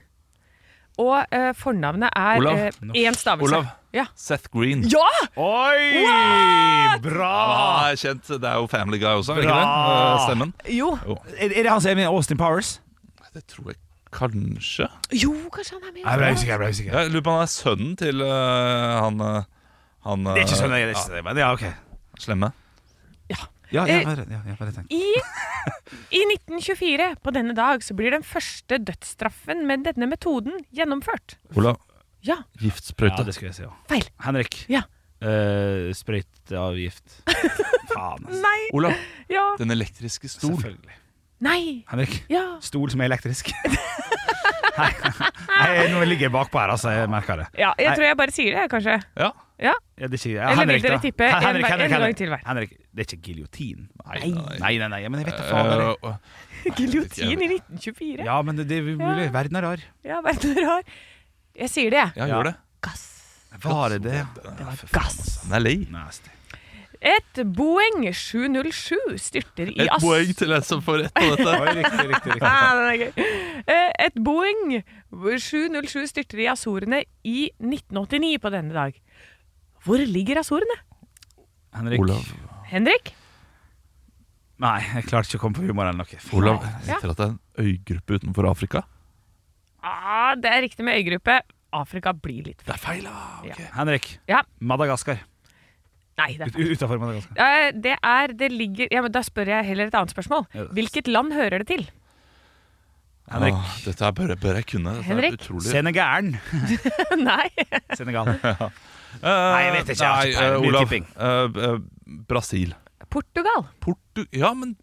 Speaker 5: og eh, fornavnet er
Speaker 3: Olav.
Speaker 5: eh, én stavelse.
Speaker 3: Olav.
Speaker 5: Ja.
Speaker 3: Seth Green.
Speaker 5: ja!
Speaker 2: Oi! Bra!
Speaker 3: Ah, jeg er kjent, Det er jo Family Guy også, er det ikke det?
Speaker 2: Bra!
Speaker 3: Eh, Stemmen.
Speaker 5: Jo.
Speaker 2: Er er det han som er med i Austin Powers?
Speaker 3: Det tror jeg kanskje.
Speaker 5: jo, kanskje han er med.
Speaker 2: usikker. jeg ble usikker
Speaker 3: Jeg lurer på om han er sønnen til eh, han, eh, han eh,
Speaker 2: Det er ikke sånn jeg det er ikke sånn jeg- men Ja, ok.
Speaker 3: Slemme.
Speaker 2: Ja,
Speaker 5: Eh,
Speaker 2: jeg bare, ja, jeg bare tenker.
Speaker 5: I, I 1924, på denne dag, så blir den første dødsstraffen med denne metoden gjennomført.
Speaker 3: Olav.
Speaker 5: Ja,
Speaker 2: Ja,
Speaker 3: Giftsprøyte.
Speaker 2: det skulle jeg si òg.
Speaker 5: feil.
Speaker 2: Henrik.
Speaker 5: Ja.
Speaker 2: Eh, Sprøyteavgift. (laughs) Faen, altså.
Speaker 5: Nei,
Speaker 3: Olav,
Speaker 5: ja,
Speaker 3: den elektriske stol.
Speaker 2: Selvfølgelig.
Speaker 5: nei,
Speaker 2: Henrik.
Speaker 5: ja. (laughs)
Speaker 2: Stol som er elektrisk. Nei, nå ligger jeg bakpå her, altså. Jeg merker det.
Speaker 5: Ja, jeg
Speaker 2: Nei.
Speaker 5: tror jeg bare sier det, kanskje.
Speaker 2: Ja.
Speaker 5: Ja.
Speaker 2: Ja, det er ikke,
Speaker 5: vil
Speaker 2: Henrik,
Speaker 5: dere
Speaker 2: da.
Speaker 5: tippe en
Speaker 2: Henrik,
Speaker 5: vei-
Speaker 2: Henrik,
Speaker 5: en gang
Speaker 2: Henrik.
Speaker 5: til hver?
Speaker 2: Henrik, det er ikke giljotin.
Speaker 3: Nei, nei,
Speaker 2: Nei, nei, nei, men jeg vet da fader. jeg.
Speaker 3: Eh,
Speaker 5: Giljotin i 1924. Ja,
Speaker 2: Ja, men det det er umulig. Verden er rar.
Speaker 5: vet du hva rar. Jeg sier det, jeg.
Speaker 3: Ja, gjør det.
Speaker 5: Gass.
Speaker 2: Var det det?
Speaker 5: Det var gass.
Speaker 3: Den er lei.
Speaker 2: Nasty.
Speaker 5: Et Boeing 707 styrter i
Speaker 3: Et
Speaker 5: ass...
Speaker 3: poeng til en som får rett på dette.
Speaker 2: (laughs) Oi, riktig, riktig,
Speaker 5: (laughs)
Speaker 2: riktig.
Speaker 5: Ah, den er gøy. Eh, Et Boeing 707 styrter i Azorene i 1989 på denne dag. Hvor ligger Azorene?
Speaker 2: Henrik.
Speaker 3: Olav.
Speaker 5: Henrik?
Speaker 2: Nei, jeg klarte ikke å komme på humor eller noe.
Speaker 3: Olav,
Speaker 5: Ja.
Speaker 3: etter at det er en øygruppe utenfor Afrika
Speaker 5: Ah, det er riktig med øygruppe. Afrika blir litt
Speaker 3: Det er feil, da!
Speaker 5: Ja.
Speaker 2: Henrik.
Speaker 5: Ja,
Speaker 2: Madagaskar.
Speaker 5: nei, det er
Speaker 2: Ut,
Speaker 5: feil.
Speaker 2: utenfor Madagaskar.
Speaker 5: Eh, Det er, det ligger ja, men Da spør jeg heller et annet spørsmål.
Speaker 2: Ja, det-
Speaker 5: Hvilket land hører det til? (laughs)
Speaker 2: Henrik.
Speaker 3: Åh, dette her bør, jeg- bør jeg kunne. Dette
Speaker 5: Henrik?
Speaker 3: er utrolig (laughs)
Speaker 2: Senegalen.
Speaker 5: Nei.
Speaker 2: Senegal.
Speaker 3: Eh, Nei,
Speaker 2: jeg vet ikke, jeg har ikke peiling. Mye
Speaker 3: Olav.
Speaker 2: tipping.
Speaker 3: eh, eh, Brasil.
Speaker 5: Portugal.
Speaker 3: Portu... Ja, men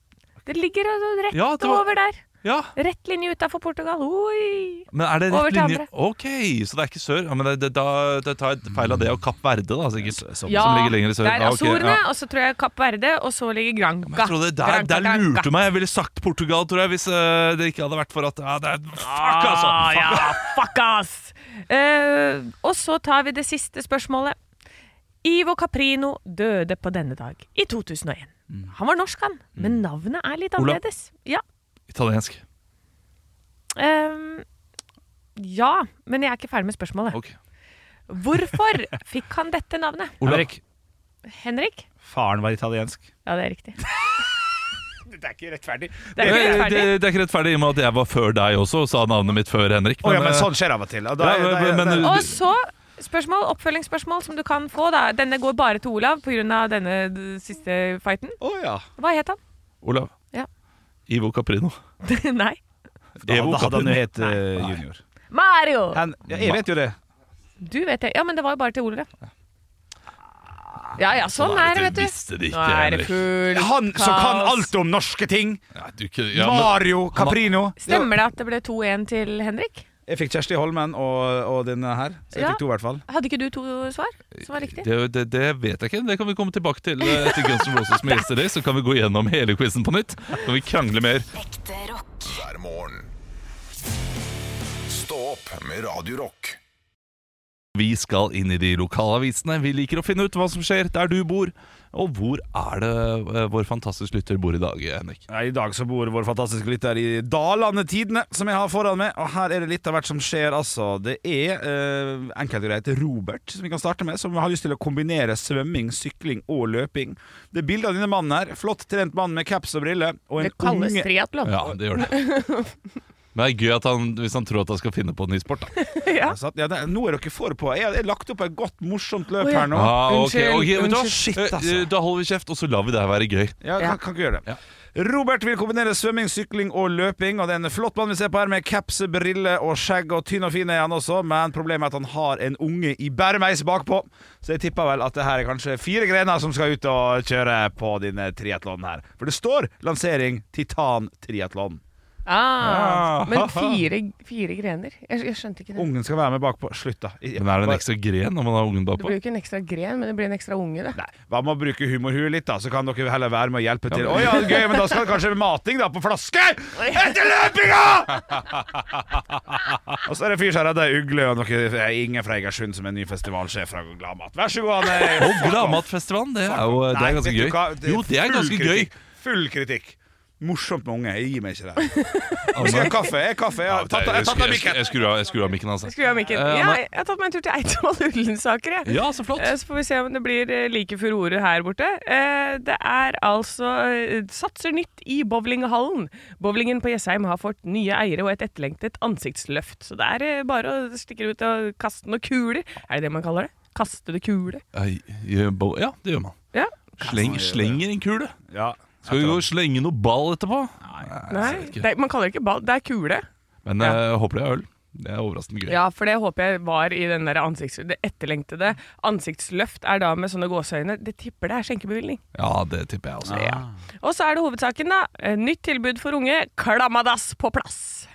Speaker 5: Det ligger altså rett
Speaker 3: Ja, det var-
Speaker 5: over der.
Speaker 3: Ja!
Speaker 5: Rett linje utafor Portugal. Oi!
Speaker 3: Men er det
Speaker 5: Over
Speaker 3: rett
Speaker 5: til
Speaker 3: linje?
Speaker 5: andre.
Speaker 3: Ok, så det er ikke sør. Ja, men det, det, da da tar jeg feil av det og Kapp Verde, da, sikkert. Som,
Speaker 5: Ja,
Speaker 3: som ligger lenger i sør.
Speaker 5: det er
Speaker 3: Ja, ok, ja.
Speaker 5: Azorene, og så tror jeg Kapp Verde, og så ligger Granca.
Speaker 3: Men jeg trodde der,
Speaker 5: Granca,
Speaker 3: der lurte
Speaker 5: Granca.
Speaker 3: du meg. Jeg ville sagt Portugal, tror jeg, hvis eh, det ikke hadde vært for at ja, det er, Fuck, altså!
Speaker 5: Ah,
Speaker 3: Fuck.
Speaker 5: ja, fuck ass! Eh, og så tar vi det siste spørsmålet. Ivo Caprino døde på denne dag i 2001. Han var norsk, han, men navnet er litt
Speaker 3: Olav.
Speaker 5: annerledes. Ja,
Speaker 3: Italiensk.
Speaker 5: eh, ja, men jeg er ikke ferdig med spørsmålet.
Speaker 3: Ok.
Speaker 5: (laughs) Hvorfor fikk han dette navnet?
Speaker 3: Olav.
Speaker 2: Henrik.
Speaker 5: Henrik?
Speaker 2: Faren var italiensk.
Speaker 5: Ja, det er riktig.
Speaker 2: Det er ikke rettferdig.
Speaker 5: Det er
Speaker 3: Eh,
Speaker 5: ikke
Speaker 3: Det,
Speaker 5: rettferdig.
Speaker 3: det er ikke rettferdig i og med at jeg var før deg også og sa navnet mitt før Henrik.
Speaker 2: Å ja, men
Speaker 3: eh,
Speaker 2: sånn skjer av og til. Og da,
Speaker 3: Ja,
Speaker 2: da, da,
Speaker 3: men- men-
Speaker 5: Og så spørsmål, oppfølgingsspørsmål som du kan få. da Denne går bare til Olav pga. denne d- siste fighten.
Speaker 2: Å ja.
Speaker 5: Hva het han?
Speaker 3: Olav.
Speaker 5: Ja.
Speaker 3: Ivo Caprino.
Speaker 5: (laughs) Nei.
Speaker 2: Da,
Speaker 3: Evo
Speaker 2: da hadde han jo
Speaker 3: Caprino.
Speaker 2: hett eh, junior.
Speaker 5: Mario!
Speaker 2: Han, ja, jeg vet jo det.
Speaker 5: Du vet det. Ja, men det var jo bare til Olav. Ja ja, sånn er det, vet du.
Speaker 3: Visste det
Speaker 5: Nå
Speaker 3: ikke,
Speaker 5: er
Speaker 3: Henrik.
Speaker 5: det full
Speaker 2: Han som kan
Speaker 5: kaos.
Speaker 2: alt om norske ting.
Speaker 3: Ja, du, ikke- ja, men-
Speaker 2: Mario
Speaker 3: han var-
Speaker 2: Caprino.
Speaker 5: Stemmer det at det ble 2-1 til Henrik?
Speaker 2: Jeg fikk Kjersti Holmen og, og denne her. Så jeg
Speaker 5: Ja.
Speaker 2: fikk to, i hvert fall.
Speaker 5: Hadde ikke du to svar som var riktig?
Speaker 3: Det, det, det vet jeg ikke. Det kan vi komme tilbake til eh, etter Guns N' Roses med Yesterday. Så kan vi gå gjennom hele quizen på nytt. Så kan vi krangle mer.
Speaker 8: ekte rock,
Speaker 1: hver morgen. Stå opp med Radio Rock.
Speaker 3: Vi skal inn i de lokale avisene. Vi liker å finne ut hva som skjer der du bor. Og hvor er det eh, vår fantastiske lytter bor i dag, Henrik?
Speaker 2: Ja, I dag så bor vår fantastiske lytter i Dalane Tidene, som jeg har foran meg. Og her er det litt av hvert som skjer, altså. Det er eh, enkelt og greit Robert, som vi kan starte med, som har lyst til å kombinere svømming, sykling og løping. Det er bilde av denne mannen her. Flott trent mann med caps og briller. Og en
Speaker 5: Det kalles
Speaker 2: unge
Speaker 5: triatlon.
Speaker 3: Ja, det gjør det. (laughs) Men det er gøy at han, hvis han tror at han skal finne på en ny sport, da.
Speaker 2: Ja, sant? ja, det, Nå er dere for på. Jeg jeg har lagt opp et godt, morsomt løp
Speaker 5: Å, ja.
Speaker 2: her nå.
Speaker 3: Ah, ok,
Speaker 5: Unnskyld,
Speaker 3: ok, vet du hva?
Speaker 5: unnskyld.
Speaker 2: Shit,
Speaker 3: Eh,
Speaker 2: altså.
Speaker 3: eh, Da holder vi kjeft, og så lar vi det her være gøy.
Speaker 2: Ja,
Speaker 5: Ja.
Speaker 2: Kan, kan ikke gjøre det.
Speaker 3: Ja.
Speaker 2: Robert vil kombinere svømming, sykling og løping. Og det er en flott mann vi ser på her, med caps, briller og skjegg. Og tynn og fin er han også, men problemet er at han har en unge i bæremeis bakpå. Så jeg tipper vel at det her er kanskje fire grener som skal ut og kjøre på denne triatlonen her. For det står lansering Titan-triatlon.
Speaker 5: Ah,
Speaker 3: Ah.
Speaker 5: men fire, fire grener? Jeg, jeg skjønte ikke det.
Speaker 2: Ungen skal være med bakpå. Slutt, da. Jeg-
Speaker 3: Men er det en
Speaker 2: bare-
Speaker 3: ekstra gren når man har ungen
Speaker 5: Det
Speaker 3: bakpå?
Speaker 5: blir jo ikke en ekstra gren, men det blir en ekstra unge, det.
Speaker 2: Nei, Hva med å bruke humorhuet litt, da? Så kan dere heller være med å hjelpe til.
Speaker 3: men-
Speaker 2: Å ja, gøy, men da skal det kanskje mating, da, på flaske! Etter løpinga! (laughs) og så er det en fyr som har redda ei ugle og noe Inge fra Egersund, som er ny festivalsjef fra Gladmat. Vær så god, han er
Speaker 3: Og Gladmatfestivalen, det er jo det
Speaker 2: Nei,
Speaker 3: er ganske
Speaker 2: vet du
Speaker 3: gøy.
Speaker 2: hva? Det er
Speaker 3: Jo, det er
Speaker 2: full
Speaker 3: ganske gøy.
Speaker 2: kritikk. Full kritikk. Morsomt med unge. Jeg gir meg ikke der. Nå skal
Speaker 3: Anne?
Speaker 2: jeg ha kaffe. Jeg har kaffe. Jeg
Speaker 3: Ja,
Speaker 2: har
Speaker 3: det er-
Speaker 2: tatt av- jeg har tatt av
Speaker 3: jeg- jeg-
Speaker 2: mikken.
Speaker 3: Jeg skrur av- jeg skrur av mikken, altså.
Speaker 5: Skru av mikken.
Speaker 3: Eh,
Speaker 5: Ja,
Speaker 3: Anna-
Speaker 5: jeg har tatt meg en tur til Eidsvoll Ullensaker, jeg.
Speaker 3: Ja, så flott.
Speaker 5: Eh, Så får vi se om det blir eh, like furore her borte. Eh, Det er altså eh, Satser nytt i bowlinghallen. Bowlingen på Jessheim har fått nye eiere og et etterlengtet ansiktsløft. Så det er eh, bare å stikke ut og kaste noen kuler. Er det det man kaller det? Kastede kuler.
Speaker 3: Ei, gjør bo- Ja, det gjør man.
Speaker 5: Ja.
Speaker 3: Sleng, slenger en kule.
Speaker 2: Ja.
Speaker 3: Skal vi gå og slenge noe ball etterpå?
Speaker 5: Nei, det, er- man kaller det ikke ball, det er kule.
Speaker 3: Men
Speaker 5: Ja.
Speaker 3: jeg håper det er øl. Det er overraskende gøy.
Speaker 5: Ja, for det håper jeg var i den der ansikts, det etterlengtede. Ansiktsløft er da med sånne gåseøyne. Det tipper det er skjenkebevilgning.
Speaker 3: Ja, det tipper jeg også.
Speaker 5: Ja. Og så er det hovedsaken, da. Eh, Nytt tilbud for unge. Klamadass på plass.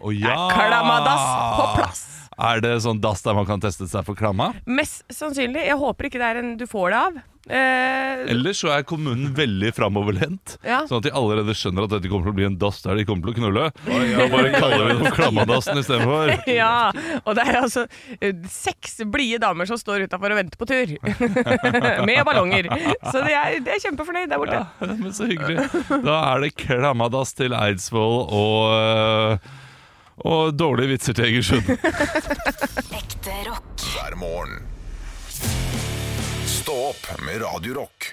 Speaker 3: Å ja!
Speaker 5: Klamadass på plass.
Speaker 3: Er det sånn dass der man kan teste seg for klamma?
Speaker 5: Mest sannsynlig. Jeg håper ikke det er en du får det av. Eh,
Speaker 3: Ellers så er kommunen veldig framoverlent.
Speaker 5: Ja.
Speaker 3: Sånn at de allerede skjønner at dette kommer til å bli en dass der de kommer til å knulle. Da bare kaller vi det for Klammadassen istedenfor.
Speaker 5: ja, og det er altså eh, seks blide damer som står utafor og venter på tur. (laughs) Med ballonger. Så de er, de er kjempefornøyd der borte.
Speaker 3: Ja, (laughs) men så hyggelig. Da er det Klammadass til Eidsvoll og øh, og dårlige vitser til Egersund.
Speaker 8: Ekte rock.
Speaker 1: hver morgen. Stå opp med Radio Rock.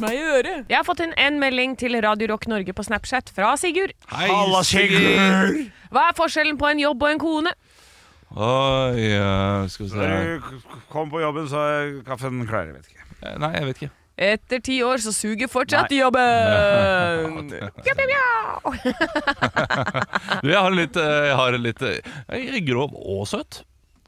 Speaker 5: Jeg har fått inn en melding til Radio Rock Norge på Snapchat fra Sigurd.
Speaker 2: Halla, Sigurd!
Speaker 5: Hva er forskjellen på en jobb og en kone?
Speaker 3: Oi, øh, skal vi se her.
Speaker 2: Når du k- kom på jobben, så er kaffen klar. Jeg vet ikke.
Speaker 3: Eh, Nei, jeg vet ikke.
Speaker 5: Etter ti år så suger fortsatt jobben! Pja, pja, pja.
Speaker 3: Du, jeg har en litt, øh, jeg har en litt øh, jeg er grov og søt,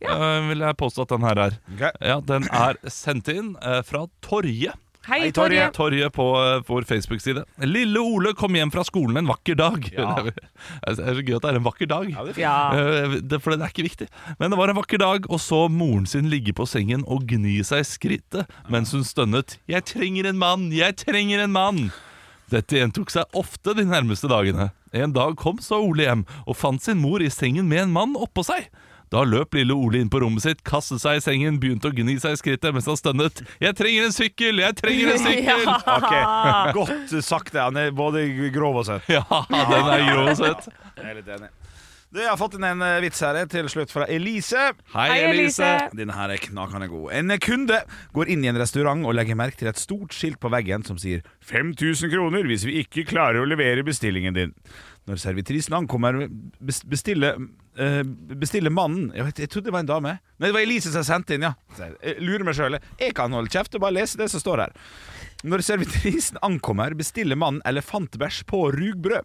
Speaker 3: øh, vil jeg påstå at den her er.
Speaker 2: Ok.
Speaker 3: Ja, Den er sendt inn øh, fra Torje.
Speaker 5: Hei,
Speaker 2: Hei,
Speaker 5: Torje.
Speaker 2: Torje.
Speaker 3: Torget på eh, vår Facebook-side. Lille Ole kom hjem fra skolen en vakker dag. (laughs) Det er det er så gøy at det er en vakker dag.
Speaker 5: Ja.
Speaker 3: Eh, det, for det er ikke viktig. Men det var en vakker dag, og så moren sin ligge på sengen og gni seg i skrittet mens hun stønnet 'Jeg trenger en mann! Jeg trenger en mann!' Dette gjentok seg ofte de nærmeste dagene. En dag kom så Ole hjem og fant sin mor i sengen med en mann oppå seg. Da løp lille Ole inn på rommet sitt, kastet seg i sengen, begynte å gni seg i skrittet mens han stønnet 'Jeg trenger en sykkel! Jeg trenger en sykkel!'
Speaker 5: (laughs) Ja.
Speaker 2: Ok, Godt sagt. det. Han er både grov og søt.
Speaker 3: Ja, (laughs) den er grov og søt.
Speaker 2: Jeg er litt enig. Du, jeg har fått inn en eh, vits her eh, til slutt fra Elise.
Speaker 5: Hei, Elise.
Speaker 2: Denne her er knakende god. En eh, kunde går inn i en restaurant og legger merke til et stort skilt på veggen som sier 5000 kroner hvis vi ikke klarer å levere bestillingen din. Når servitrisen ankommer, bes- bestiller eh, bestiller mannen jeg, vet, jeg trodde det var en dame. Nei, det var Elise som sendte inn, ja. Jeg eh, lurer meg sjøl. Jeg kan holde kjeft og bare lese det som står her. Når servitrisen ankommer, bestiller mannen elefantbæsj på rugbrød.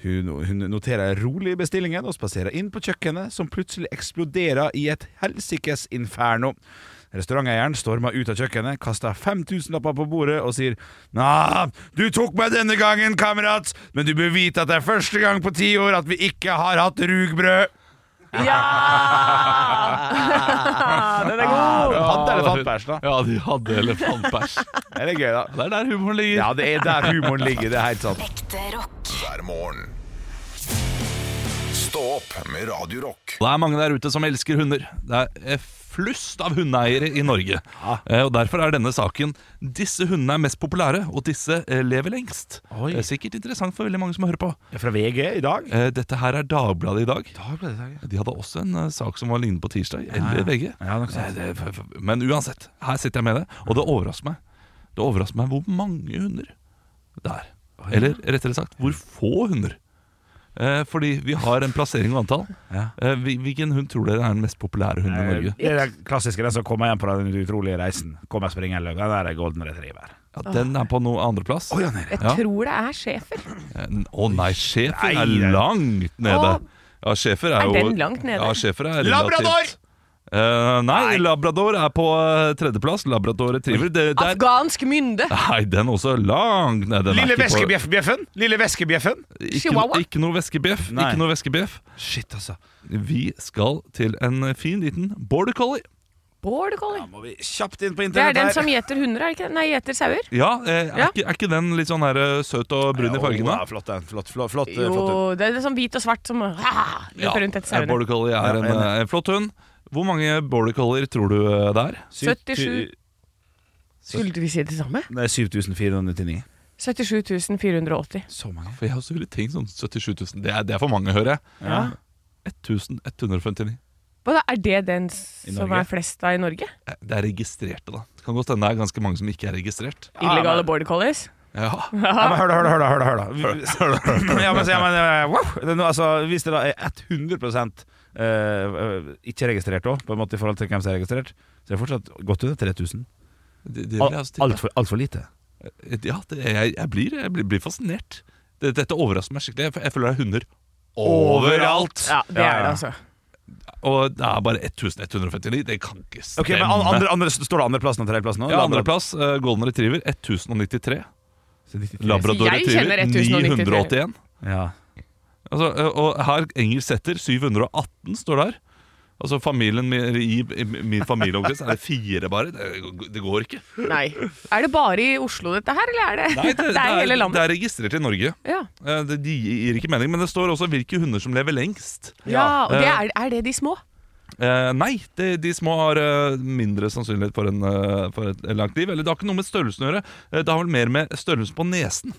Speaker 2: Hun, hun noterer rolig bestillingen og spaserer inn på kjøkkenet, som plutselig eksploderer i et helsikes inferno. Restauranteieren stormer ut av kjøkkenet, kaster 5000-lapper på bordet og sier Nah, du tok meg denne gangen, kamerat, men du bør vite at det er første gang på ti år at vi ikke har hatt rugbrød.
Speaker 5: Ja! Den er god!
Speaker 2: De hadde elefantbæsj, da.
Speaker 3: Ja, de hadde elefantbæsj.
Speaker 2: Det er litt gøy, da.
Speaker 3: Det er der humoren ligger.
Speaker 2: Ja, det er der humoren ligger. Det er helt sant.
Speaker 8: Ekte rock.
Speaker 1: hver morgen. Stå opp med Radio Rock.
Speaker 3: Det er mange der ute som elsker hunder. Det er eh, flust av hundeeiere i Norge. Eh, Og Derfor er denne saken Disse hundene er mest populære, og disse eh, lever lengst.
Speaker 2: Oi.
Speaker 3: Det er sikkert interessant for veldig mange som hører på.
Speaker 2: Fra VG i dag.
Speaker 3: Eh, Dette her er Dagbladet i dag.
Speaker 2: Da ble det dag, ja.
Speaker 3: De hadde også en eh, sak som var lignende på tirsdag, eller VG.
Speaker 2: Ja, nok sant.
Speaker 3: Nei, det- f- f- Men uansett, her sitter jeg med det, og det overrasker meg. Det overrasker meg hvor mange hunder det er. Eller rettere sagt, hvor få hunder. Eh, fordi vi har en plassering og antall.
Speaker 2: Ja.
Speaker 3: Eh, hvil- hvilken hund tror dere er den mest populære hunden i Norge?
Speaker 2: Eh, Det er den klassiske, den som kommer hjem på den utrolige reisen. Kommer springende løk. Den der er golden retriever.
Speaker 3: Ja, den er på noe andreplass. Å
Speaker 5: Jeg tror det er schæfer.
Speaker 3: nei, schæfer
Speaker 2: Nei,
Speaker 3: er
Speaker 2: nei.
Speaker 3: langt nede.
Speaker 5: Å.
Speaker 3: Ja, schæfer er
Speaker 5: Er
Speaker 3: jo
Speaker 5: den langt nede?
Speaker 3: Ja, schæfer er relativt
Speaker 2: Labrador!
Speaker 3: Eh, nei, labrador er på eh, tredjeplass. Labrador retriever. Det, det er
Speaker 5: Afghansk mynde.
Speaker 3: Nei, den også er langt ned. Den er
Speaker 2: Lille
Speaker 3: ikke på-
Speaker 2: veskebjeffen! Lille veskebjeffen!
Speaker 3: Ikke,
Speaker 5: Chihuahua?
Speaker 3: ikke noe veskebjeff.
Speaker 2: Nei.
Speaker 3: Ikke noe veskebjeff.
Speaker 2: Shit, altså.
Speaker 3: Vi skal til en fin liten border collie.
Speaker 5: Border collie.
Speaker 2: Må vi kjapt inn på
Speaker 5: Det er
Speaker 2: internett
Speaker 5: den som gjeter hunder, er det ikke det? Nei, gjeter sauer.
Speaker 3: Ja, eh, er,
Speaker 5: Ja.
Speaker 3: Ikke, er ikke den litt sånn her, eh, søt og brun i fargen?
Speaker 2: Ja,
Speaker 3: da?
Speaker 2: flott, den. Flott, flott, flott,
Speaker 5: Jo,
Speaker 2: flott hund.
Speaker 5: det er sånn hvit og svart som ah, løper rundt etter
Speaker 3: eh,
Speaker 5: sauene.
Speaker 3: border collie er
Speaker 2: Ja,
Speaker 3: en,
Speaker 2: enig.
Speaker 3: eh, en flott hund. Hvor mange border collier tror du eh, det er?
Speaker 2: Syv-
Speaker 5: 77. Skulle vi si det samme?
Speaker 2: Nei, 7499.
Speaker 5: 77 480.
Speaker 2: Så mange.
Speaker 3: For jeg har også ville tenkt sånn 77 000. Det er, det er for mange, hører jeg.
Speaker 2: Ja.
Speaker 3: 1159.
Speaker 5: Hva da, er det den s-
Speaker 2: I
Speaker 5: som
Speaker 2: Norge?
Speaker 5: er flest av i Norge?
Speaker 3: Eh, Det er registrerte, da. Det kan godt hende det er ganske mange som ikke er registrert.
Speaker 5: Illegale border collies?
Speaker 3: Ja,
Speaker 2: Ja, men hør da, hør da, hør da, hør da, hør da. Vi- Ja, men, så- ja, men eh, wow. det er noe, altså, Hvis det da er 100 eh, eh, ikke registrert òg, på en måte i forhold til hvem som er registrert, så er det fortsatt godt under 3000.
Speaker 3: det, det vil jeg altså tippe.
Speaker 2: Altfor alt for lite.
Speaker 3: Ja, det, jeg, jeg, blir, jeg blir, blir fascinert. Det, dette overrasker meg skikkelig. Jeg, jeg føler det er hunder overalt!
Speaker 5: Ja, det
Speaker 2: Ja,
Speaker 5: er det,
Speaker 2: ja.
Speaker 5: altså.
Speaker 3: Og det er bare 1159. Det kan ikke stemme.
Speaker 2: Ok, men an- andre, andre, Står det andreplassen og tredjeplassen nå?
Speaker 3: ja, andreplass, eh, Golden Retriever 1093.
Speaker 7: Så 93.
Speaker 3: Labrador
Speaker 5: Jeg kjenner
Speaker 3: retriever
Speaker 5: 1093.
Speaker 3: 981.
Speaker 7: Ja.
Speaker 3: Altså, ø, og her engelsk setter 718 står der. Altså familien min, i, i min familieomkrets er det fire bare. Det, det går ikke.
Speaker 5: Nei. Er det bare i Oslo dette her, eller er det (laughs) det, er hele landet?
Speaker 3: det er registrert i Norge.
Speaker 5: ja.
Speaker 3: Eh, Det de gir ikke mening, men det står også hvilke hunder som lever lengst.
Speaker 5: ja, og det
Speaker 3: Eh,
Speaker 5: er, er det de små?
Speaker 3: Eh, nei, de, de små har eh, mindre sannsynlighet for, en, eh, for et langt liv. Eller det har ikke noe med størrelsen å gjøre. Eh, det har vel mer med størrelsen på nesen.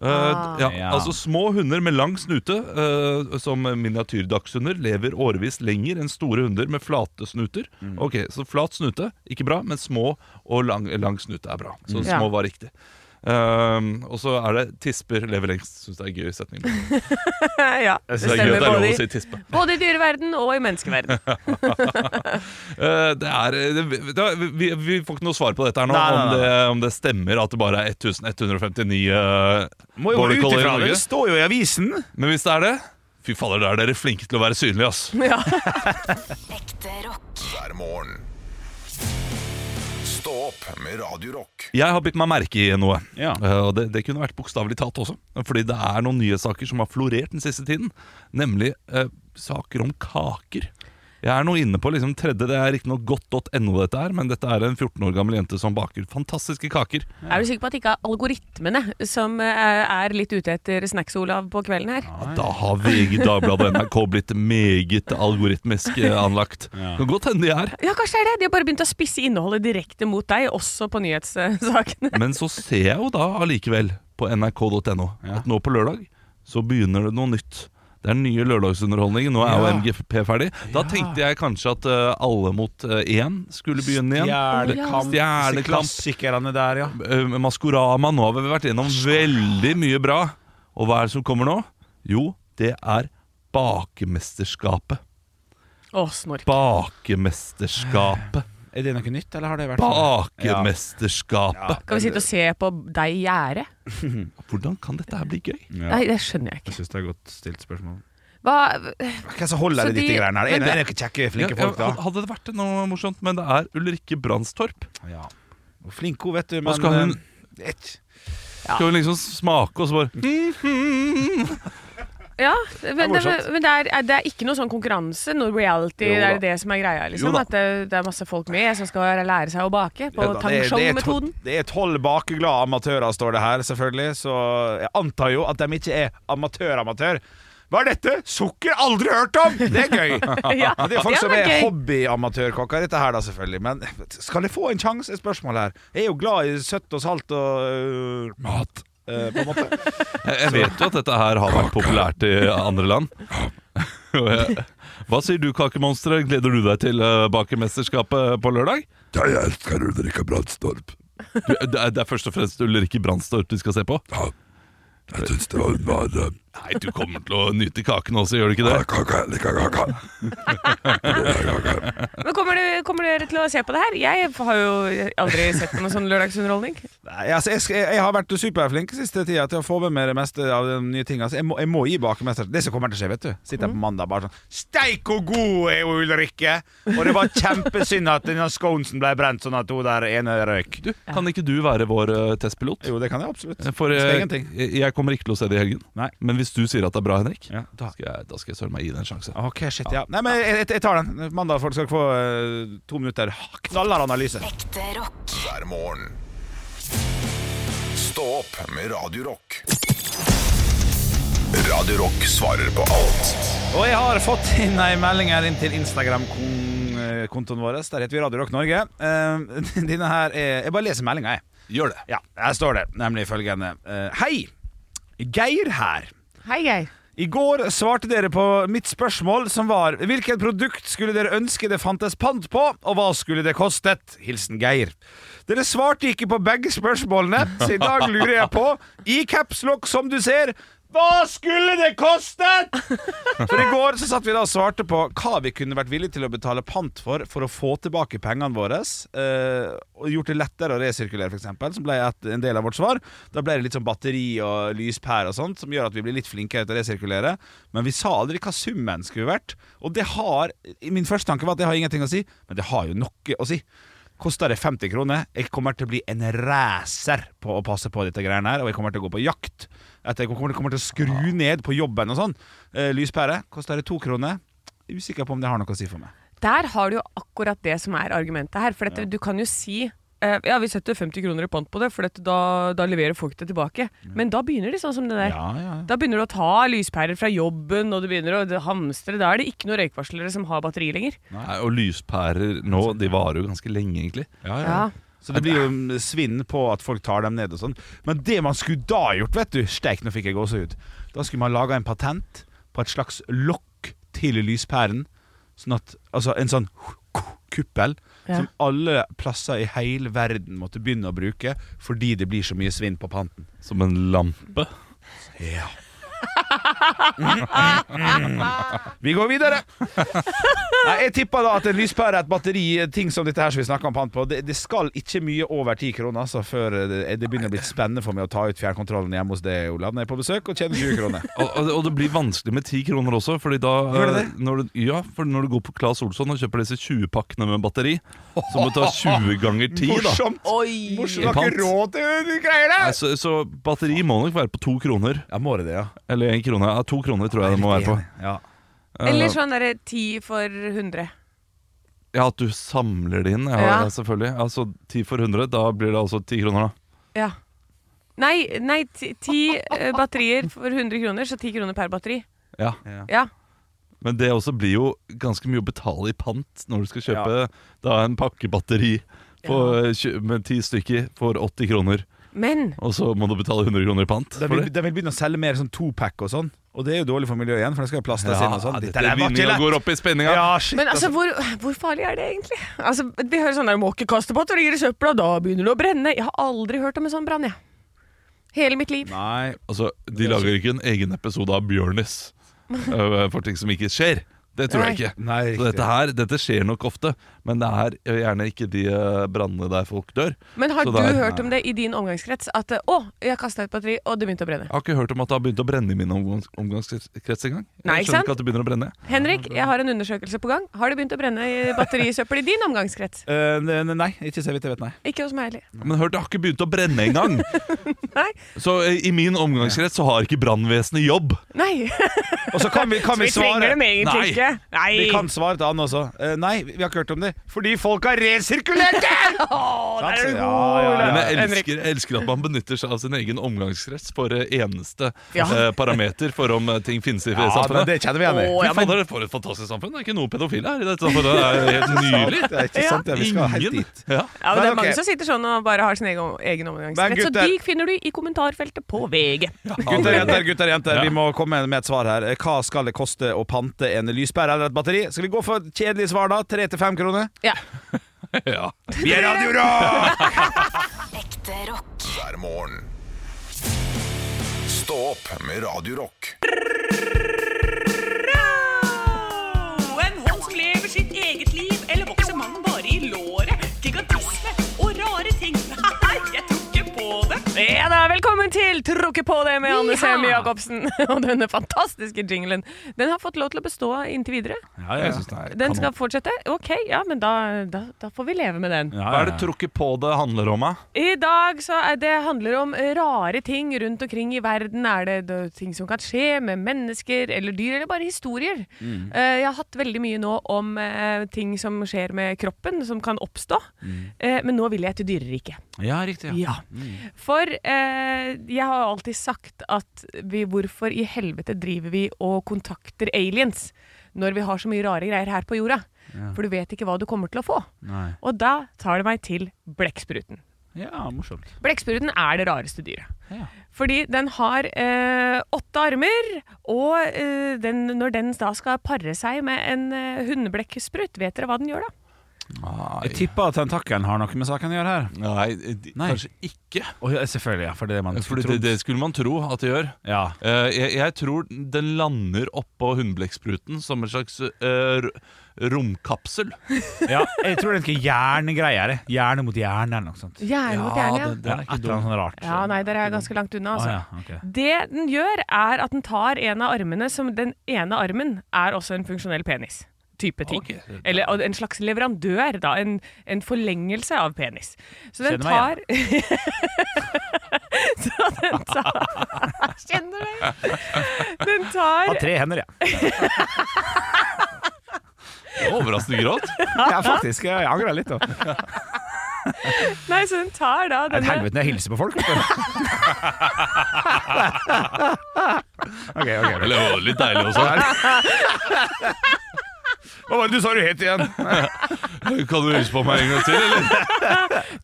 Speaker 3: Eh,
Speaker 5: Ah.
Speaker 3: d- ja,
Speaker 7: Ja.
Speaker 3: Altså Små hunder med lang snute, eh, som miniatyrdagshunder, lever årevis lenger enn store hunder med flate snuter. Ok, Så flat snute, ikke bra, men små og lang, lang snute er bra. Så
Speaker 5: Mm. Ja.
Speaker 3: små var riktig. Eh, og så er det tisper lever lengst. Syns det er en gøy setning. Det
Speaker 5: (laughs) ja,
Speaker 3: er gøy
Speaker 5: det
Speaker 3: at
Speaker 5: stemmer
Speaker 3: det er lov
Speaker 5: både
Speaker 3: å
Speaker 5: i,
Speaker 3: si tispe.
Speaker 5: både i dyreverden og i
Speaker 2: (laughs)
Speaker 5: menneskeverden.
Speaker 3: Eh, Det er, det, det, vi, vi får ikke noe svar på dette her nå,
Speaker 2: Nei, nei,
Speaker 3: om,
Speaker 2: nei.
Speaker 3: det, om det stemmer at det bare er 1159 uh,
Speaker 2: Må jo gå
Speaker 3: border
Speaker 2: ut ifra
Speaker 3: collie i
Speaker 2: det.
Speaker 3: Norge.
Speaker 2: Det står jo i avisen.
Speaker 3: Men hvis det er det Fy faller, da er dere flinke til å være synlige, ass.
Speaker 5: ja.
Speaker 8: Ekte rock.
Speaker 1: hver morgen. Stå opp med Radio Rock.
Speaker 3: Jeg har bitt meg merke i noe.
Speaker 7: Ja.
Speaker 3: Eh, Og det, det kunne vært bokstavelig talt også. Fordi det er noen nyhetssaker som har florert den siste tiden. Nemlig eh, saker om kaker. Jeg er nå inne på liksom tredje, det er riktignok godt.no dette her, men dette er en 14 år gammel jente som baker fantastiske kaker.
Speaker 5: Er du sikker på at det ikke er algoritmene som eh, er litt ute etter Snacks-Olav på kvelden her?
Speaker 3: Ja, Da har VG, Dagbladet og NRK blitt meget algoritmisk eh, anlagt. Det kan godt hende de er.
Speaker 5: Ja, kanskje det er det. De har bare begynt å spisse innholdet direkte mot deg, også på
Speaker 2: (laughs)
Speaker 5: nyhetssakene.
Speaker 3: Men så ser jeg jo da allikevel på nrk.no at nå på lørdag så begynner det noe nytt. Det er den nye lørdagsunderholdningen. Nå er jo MGP ferdig. Da tenkte jeg kanskje at eh, Alle mot eh, én skulle begynne igjen.
Speaker 2: Stjernekamp. Disse
Speaker 3: Stjernekamp.
Speaker 2: klassikerne der, ja.
Speaker 3: Eh, Maskorama. Nå har vi vært gjennom veldig mye bra. Og hva er det som kommer nå? Jo, det er Bakemesterskapet.
Speaker 5: Å, snork.
Speaker 3: Bakemesterskapet.
Speaker 2: Er det noe nytt, eller har det vært
Speaker 3: Bakemesterskapet.
Speaker 5: Skal vi sitte og se på deg gjerde?
Speaker 3: Hvordan kan dette her bli gøy?
Speaker 2: Ja.
Speaker 5: Nei, det skjønner jeg ikke.
Speaker 2: Jeg syns det er godt stilt spørsmål.
Speaker 5: Hva
Speaker 2: Hvem som holder
Speaker 5: Så
Speaker 2: i dette
Speaker 5: de-
Speaker 2: greiene her? Er
Speaker 5: Men
Speaker 2: det, er det ikke kjekke, flinke
Speaker 3: Ja,
Speaker 2: folk, da?
Speaker 3: Hadde det vært noe morsomt, men det er Ulrikke Brandstorp.
Speaker 2: Ja. Og Flink hun, vet du, men
Speaker 3: Hva skal hun-
Speaker 2: eh, det er ikke-
Speaker 3: Skal hun liksom smake og så bare mhm.
Speaker 5: Ja, men det,
Speaker 3: morsomt.
Speaker 5: men det, er, det er ikke noe sånn konkurranse, noe reality.
Speaker 2: Jo
Speaker 5: det er
Speaker 2: da.
Speaker 5: det som er greia,
Speaker 3: Jo
Speaker 5: liksom.
Speaker 3: da.
Speaker 5: At det, det er masse folk med som skal lære seg å bake på
Speaker 2: Ja, da, det er- det er to-
Speaker 5: tangshong-metoden.
Speaker 2: Det er tolv bakeglade amatører, står det her, selvfølgelig. Så jeg antar jo at de ikke er amatør-amatør. Hva er dette? Sukker? Aldri hørt om! Det er gøy.
Speaker 5: (laughs) Ja,
Speaker 2: Men Det er jo folk
Speaker 5: det
Speaker 2: som
Speaker 5: var
Speaker 2: er
Speaker 5: gøy.
Speaker 2: hobbyamatørkokker, dette her da, selvfølgelig. Men skal jeg få en sjanse? Er spørsmålet her. Jeg er jo glad i søtt og salt og øh, mat, øh, på en måte.
Speaker 3: Jeg jeg vet jo at dette her har vært populært i andre land. Og jeg- Hva sier du, kakemonsteret? Gleder du deg til eh, Bakemesterskapet på lørdag?
Speaker 10: Jeg elsker Ulrika Brandstorp.
Speaker 3: Du, eh, det, er, det er først og fremst Ulrikke Brandstorp du skal se på.
Speaker 10: Jeg syns det var hun var eh,
Speaker 3: Nei, du kommer til å nyte kaken også, gjør du ikke det?
Speaker 10: kaka, jeg liker kaka.
Speaker 5: Men kommer, du, kommer dere til å se på det her? Jeg har jo aldri sett på noen sånn lørdagsunderholdning.
Speaker 2: Nei, altså, jeg, skal- jeg har vært superflink siste tida til å få med meg det meste av de nye tingene. Så jeg, må, jeg må gi bakemester. Det som kommer til å skje, vet du. Sitter jeg på
Speaker 3: Mhm.
Speaker 2: mandag bare sånn Steik hvor god er hun Ulrikke! Og det var kjempesynd at denne sconesen ble brent, sånn at hun der ene røyk.
Speaker 3: Du, kan ikke du være vår eh, testpilot?
Speaker 2: Jo, det kan jeg absolutt.
Speaker 3: For
Speaker 2: Jeg skal
Speaker 3: eh,
Speaker 2: ingenting.
Speaker 3: jeg, jeg kommer ikke til å se det i helgen.
Speaker 2: Nei.
Speaker 3: Men hvis du sier at det er bra, Henrik,
Speaker 2: Ja, da.
Speaker 3: skal jeg, da skal jeg søren meg gi det en sjanse.
Speaker 2: OK, shit, ja. Nei, men jeg, jeg- jeg tar den. Mandag folk skal dere få eh, to minutter knallhard analyse.
Speaker 8: Ekte rock.
Speaker 1: hver morgen. Stå opp med Radio Rock. Radio Rock svarer på alt
Speaker 2: Og jeg har fått inn ei melding her inn til Instagram-kontoen vår. Der heter vi Radio Rock Norge. Eh, (laughs) Denne her er Jeg bare leser meldinga, jeg.
Speaker 3: Gjør det.
Speaker 2: Ja, her står det nemlig følgende. Eh, Hei! Geir her.
Speaker 5: Hei, Geir.
Speaker 2: I går svarte dere på mitt spørsmål som var Hvilket produkt skulle dere ønske det fantes pant på, og hva skulle det kostet? Hilsen Geir. Dere svarte ikke på begge spørsmålene, så i dag lurer jeg på, i capslock som du ser hva skulle det kostet?! For i går så satt vi da og svarte på hva vi kunne vært villige til å betale pant for for å få tilbake pengene våre. eh, og gjort det lettere å resirkulere, f.eks., som ble et, en del av vårt svar. Da ble det litt sånn batteri og lyspærer og sånt, som gjør at vi blir litt flinkere til å resirkulere. Men vi sa aldri hva summen skulle vært. Og det har Min første tanke var at det har ingenting å si, men det har jo noe å si. Koster det 50 kroner? Jeg kommer til å bli en racer på å passe på dette greiene her. Og jeg kommer til å gå på jakt. At jeg kommer, kommer til å skru ned på jobben og sånn. Eh, lyspære. Koster det to kroner? Usikker på om det har noe å si for meg.
Speaker 5: Der har du jo akkurat det som er argumentet her. For at du kan jo si eh, ja, vi setter 50 kroner i pant på det, for at da, da leverer folk det tilbake. Men da begynner de sånn som det der.
Speaker 2: Mm. ja,
Speaker 5: Da begynner du å ta lyspærer fra jobben, og du begynner å hamstre. Da er det ikke noen røykvarslere som har batteri lenger.
Speaker 3: Nei, og lyspærer nå, de varer jo ganske lenge, egentlig.
Speaker 2: Ja, ja. Så det blir jo svinn på at folk tar dem ned og sånn. Men det man skulle da gjort, vet du Steik, nå fikk jeg gåsehud. Da skulle man laga en patent på et slags lokk til lyspæren. Sånn at, altså en sånn kuppel
Speaker 5: Ja.
Speaker 2: som alle plasser i hele verden måtte begynne å bruke fordi det blir så mye svinn på panten.
Speaker 3: Som en lampe.
Speaker 2: Ja. Mm. Vi går videre. Nei, jeg tipper da at en lyspære, et batteri, eh, ting som dette her som vi snakker om pant på, det, det skal ikke mye over ti kroner altså, før det, det begynner å bli spennende for meg å ta ut fjernkontrollen hjemme hos deg, Olav, når jeg er på besøk og tjener 20
Speaker 3: (laughs)
Speaker 2: kroner.
Speaker 3: Og, og, og det blir vanskelig med ti kroner også. Fordi da
Speaker 2: Gjør det det?
Speaker 3: eh, Når du, ja, for når du går på Claes Olsson og kjøper disse 20-pakkene med batteri, så
Speaker 2: (laughs)
Speaker 3: må du ta 20 ganger 10. da
Speaker 2: Morsomt!
Speaker 5: Oi!
Speaker 2: Morsomt, har
Speaker 3: Pant.
Speaker 2: ikke råd til de greier
Speaker 3: Nei,
Speaker 2: der!
Speaker 3: så, så batteri må nok være på to kroner.
Speaker 2: Ja, må det det, ja.
Speaker 3: Eller én krone. Ja, to kroner tror jeg det må være på.
Speaker 2: Ja.
Speaker 5: Eller sånn derre 10 for 100.
Speaker 3: Ja, At du samler det inn, ja,
Speaker 5: Ja.
Speaker 3: ja. selvfølgelig. Altså ti for 100, da blir det altså ti kroner, da.
Speaker 5: Ja. Nei, nei ti, ti eh, batterier for 100 kroner, så 10 kroner per batteri.
Speaker 3: Ja.
Speaker 5: Ja.
Speaker 3: Men det også blir jo ganske mye å betale i pant når du skal kjøpe da en pakke batteri på, eh, tjue- med ti stykker for 80 kroner,
Speaker 5: Men
Speaker 3: og så må du betale 100 kroner i pant.
Speaker 2: De
Speaker 3: for
Speaker 2: vil,
Speaker 3: det.
Speaker 2: de vil begynne å selge mer sånn topack og sånn, og det er jo dårlig for miljøet igjen, for det skal jo plastes inn og sånn.
Speaker 3: dette er vinninga går opp i spenninga.
Speaker 2: Ja, shit,
Speaker 5: Men altså, hvor, hvor farlig er det egentlig? Altså, Vi hører sånn der, må ikke kaste batterier i søpla, da begynner det å brenne. Jeg har aldri hørt om en sånn brann, jeg. Hele mitt liv.
Speaker 2: Nei,
Speaker 3: Altså, de lager ikke en egen episode av Bjørnis øh, for ting som ikke skjer. Det tror jeg
Speaker 5: Nei.
Speaker 3: ikke.
Speaker 2: Nei,
Speaker 3: Så
Speaker 2: riktig.
Speaker 3: dette her, dette skjer nok ofte, men det er øh, gjerne ikke de øh, brannene der folk dør.
Speaker 5: Men har
Speaker 3: Så
Speaker 5: du
Speaker 3: det er-
Speaker 5: hørt om det i din omgangskrets? At eh, 'å, jeg kasta et batteri, og det begynte å brenne'.
Speaker 3: Jeg har ikke hørt om at det har begynt å brenne i min omgangs omgangskrets engang. Jeg
Speaker 5: Nei, ikke
Speaker 3: skjønner
Speaker 5: sant?
Speaker 3: ikke at det begynner å brenne.
Speaker 5: Henrik, jeg har en undersøkelse på gang. Har det begynt å brenne i batterisøppel i din omgangskrets?
Speaker 2: Eh, ne- ne- nei, ikke så vidt jeg vet, nei.
Speaker 5: Ikke hos meg heller.
Speaker 3: Men hør, det har ikke begynt å brenne engang!
Speaker 5: (laughs) Nei.
Speaker 3: Så øh, i min omgangskrets så har ikke brannvesenet jobb.
Speaker 5: Nei.
Speaker 2: Og så kan vi, kan
Speaker 5: (laughs) Så vi
Speaker 2: vi svare
Speaker 5: trenger dem egentlig
Speaker 3: Nei.
Speaker 5: ikke. Nei.
Speaker 2: Vi
Speaker 5: (laughs)
Speaker 2: kan svare til han også. Eh, nei, vi har ikke hørt om det. Fordi folk har resirkulert det!
Speaker 5: Å, der er
Speaker 2: Ja, ja,
Speaker 5: du god,
Speaker 2: ja.
Speaker 5: Olav.
Speaker 3: Men jeg
Speaker 5: Henrik.
Speaker 3: elsker, jeg elsker at man benytter seg av sin egen omgangskrets for øh, eneste
Speaker 5: Ja.
Speaker 3: øh, parameter for om øh, ting finnes i
Speaker 2: Ja, men
Speaker 3: samfunnet.
Speaker 2: det kjenner vi igjen i.
Speaker 5: Å, ja,
Speaker 3: Fy
Speaker 5: men
Speaker 3: fader, for et fantastisk samfunn. Det er ikke noe pedofile her i dette
Speaker 2: (laughs)
Speaker 3: samfunnet. Det er helt nydelig.
Speaker 2: Det er ikke sant, det. Vi skal helt
Speaker 3: Ingen.
Speaker 2: dit.
Speaker 3: Ja. (laughs)
Speaker 5: Ja, men
Speaker 2: Men
Speaker 5: Det er mange
Speaker 2: ok.
Speaker 5: som sitter sånn og bare har sin egen, egen omgangsrett.
Speaker 2: Men gutter-
Speaker 5: Så de finner du i kommentarfeltet på VG.
Speaker 2: Gutter, jenter, gutter, jenter. Vi må komme med et svar her. Eh, Hva skal det koste å pante en lyspære eller et batteri? Skal vi gå for et kjedelig svar, da? Tre til fem kroner?
Speaker 5: (laughs) Ja.
Speaker 3: Ja.
Speaker 2: Vi er Radio Rock!
Speaker 8: Ekte rock.
Speaker 1: hver morgen. Stå opp med Radio Rock.
Speaker 11: En hund som lever sitt eget liv, eller vokser mannen bare i låret? Gigantisme og rare ting. (laughs) Nei, jeg tror ikke på det.
Speaker 5: ja da, velkommen til Tråkke på det med Anne
Speaker 11: Ja.
Speaker 5: Semi Jacobsen (laughs) og denne fantastiske jinglen. Den har fått lov til å bestå inntil videre.
Speaker 3: Jeg synes det er
Speaker 5: Den
Speaker 3: kanon.
Speaker 5: skal fortsette? Ok, ja, men da, da, da får vi leve med den.
Speaker 3: Hva er det trukket på det handler om? da?
Speaker 5: I dag så er det handler om rare ting rundt omkring i verden. Er det da ting som kan skje med mennesker eller dyr, eller bare historier? Eh, jeg har hatt veldig mye nå om eh, ting som skjer med kroppen, som kan oppstå. Eh, men nå vil jeg til dyreriket.
Speaker 2: Ja, riktig.
Speaker 5: Ja. For eh, jeg har alltid sagt at vi, hvorfor i helvete driver vi og kontakter aliens når vi har så mye rare greier her på jorda? For du vet ikke hva du kommer til å få.
Speaker 2: Nei.
Speaker 5: Og da tar det meg til blekkspruten.
Speaker 2: Ja, morsomt.
Speaker 5: Blekkspruten er det rareste dyret.
Speaker 2: Ja.
Speaker 5: Fordi den har eh, åtte armer, og eh, den, når den da skal pare seg med en eh, hundeblekksprut, vet dere hva den gjør da?
Speaker 2: Jeg tipper at tentakkelen har noe med saken å gjøre her.
Speaker 3: Nei, de-
Speaker 2: Nei.
Speaker 3: kanskje ikke.
Speaker 2: Å, ja, selvfølgelig, ja. For det er det man
Speaker 3: For
Speaker 2: tror.
Speaker 3: det, det skulle man tro at det gjør.
Speaker 2: Ja.
Speaker 3: Eh, jeg, jeg tror den lander oppå hundblekkspruten som en slags eh, r- romkapsel.
Speaker 2: ja. Jeg tror det er noe hjernegreier. jeg. Hjerne mot hjerne eller noe sånt.
Speaker 5: Gjerne mot
Speaker 3: det,
Speaker 5: gjerne, ja.
Speaker 3: det
Speaker 2: Ja,
Speaker 3: er
Speaker 2: et
Speaker 3: ikke
Speaker 2: eller annet
Speaker 3: dumt.
Speaker 2: sånt rart.
Speaker 5: Ja, nei, dere er ganske langt
Speaker 2: Å,
Speaker 5: unna, altså.
Speaker 2: ja, ok.
Speaker 5: Det den gjør, er at den tar en av armene som Den ene armen er også en funksjonell penis. type ting.
Speaker 3: Ok.
Speaker 5: Eller og en slags leverandør, da. En, en forlengelse av penis. Så den
Speaker 2: Kjenner
Speaker 5: tar
Speaker 2: meg
Speaker 5: (laughs) Så den tar (laughs) Kjenner deg!
Speaker 2: (laughs)
Speaker 5: Den
Speaker 2: Har
Speaker 5: tar
Speaker 2: tre hender, jeg.
Speaker 3: Overraskende (laughs) gråt.
Speaker 2: Ja, faktisk. Jeg angrer litt. da. Det
Speaker 5: Nei, så den tar da
Speaker 2: er Et
Speaker 5: denne
Speaker 2: helvete når jeg hilser på folk. vet du. OK, OK.
Speaker 3: Eller det var litt deilig også.
Speaker 2: Hva var det du sa du het igjen?
Speaker 3: Kan du hilse på meg en gang til, eller?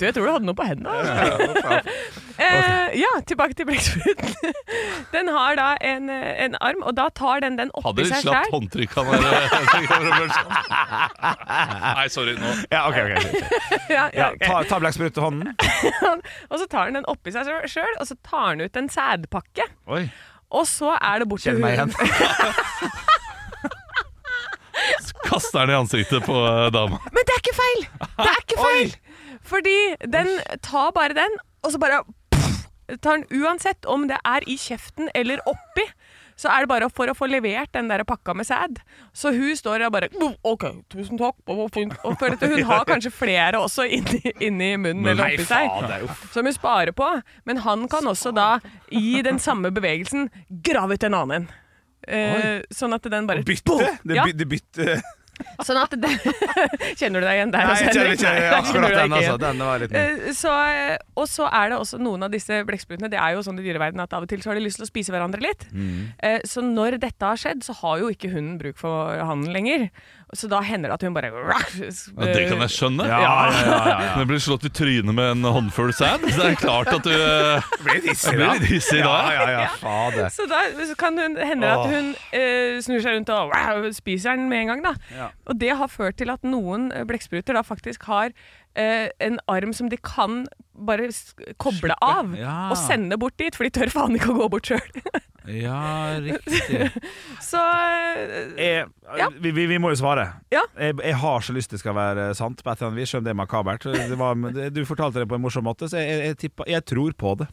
Speaker 5: Du, jeg tror du hadde noe på hendene. (laughs) Eh, ja, tilbake til blekkspruten. (laughs) Den har da en, eh, en arm, og da tar den den
Speaker 3: Hadde
Speaker 5: oppi
Speaker 3: litt
Speaker 5: seg
Speaker 3: slapt
Speaker 5: sjæl.
Speaker 3: håndtrykk eh, han der. (laughs) Nei, sorry. Nå.
Speaker 2: Ja, OK. ok.
Speaker 5: Ja, ja,
Speaker 2: Ja,
Speaker 5: ok.
Speaker 2: ta ta blekksprut til hånden.
Speaker 5: Og så tar den den oppi seg sjøl, og så tar den ut en sædpakke.
Speaker 2: Oi.
Speaker 5: Og så er det bort til
Speaker 2: Kjenn meg
Speaker 5: hunden.
Speaker 2: igjen.
Speaker 3: Kaster han i ansiktet på eh, dama.
Speaker 5: Men det er ikke feil! Det er
Speaker 2: (laughs)
Speaker 5: ikke feil! Fordi den tar bare den, og så bare pff, tar den uansett om det er i kjeften eller oppi. Så er det bare for å få levert den der pakka med sæd. Så hun står og bare «Boom, OK, tusen takk. det var fint». Og for dette,
Speaker 2: (laughs)
Speaker 5: hun har kanskje flere også inni, inni munnen eller oppi seg, som hun sparer på. Men han kan også da, i den samme bevegelsen, grave ut en annen. Eh, sånn at den bare
Speaker 2: Bytte?
Speaker 5: boom.
Speaker 2: Det
Speaker 5: Ja.
Speaker 2: by- det bytte
Speaker 5: Sånn at det, (laughs) Kjenner du deg igjen der?
Speaker 2: Nei,
Speaker 5: altså,
Speaker 2: jeg kjenner
Speaker 5: Henrik?
Speaker 2: ikke
Speaker 5: Nei, kjenner
Speaker 2: akkurat den.
Speaker 5: du deg ikke
Speaker 2: altså
Speaker 5: igjen.
Speaker 2: Denne var litt ny.
Speaker 5: Eh, Så, eh, og så er det også noen av disse blekksprutene Det er jo sånn i dyreverdenen at av og til så har de lyst til å spise hverandre litt.
Speaker 2: Mm.
Speaker 5: Eh, Så når dette har skjedd, så har jo ikke hunden bruk for hannen lenger. Så da hender det at hun bare eh,
Speaker 3: Ja, det kan jeg skjønne.
Speaker 2: Ja, ja, ja, ja, ja.
Speaker 3: Men blir slått i trynet med en håndfull sand. Så det er klart at du eh,
Speaker 2: Blir litt hissig,
Speaker 3: blir litt hissig da.
Speaker 2: Ja, ja, ja, fader.
Speaker 5: Så da så kan hun, hender det at hun eh, snur seg rundt og wow, spiser den med en gang. Da. Og det har ført til at noen eh, blekkspruter da faktisk har eh, en arm som de kan bare s- koble av
Speaker 2: Ja.
Speaker 5: og sende bort dit, for de tør faen ikke å gå bort sjøl.
Speaker 2: Ja, riktig.
Speaker 5: (laughs) Så eh,
Speaker 2: Jeg,
Speaker 5: Ja.
Speaker 2: vi, vi, vi må jo svare.
Speaker 5: Ja.
Speaker 2: Jeg, jeg har så lyst til det skal være sant, på et eller annet vis, selv om det er makabert. Det var, men det- du fortalte det på en morsom måte, så jeg, jeg, jeg, tippa- jeg tror på det.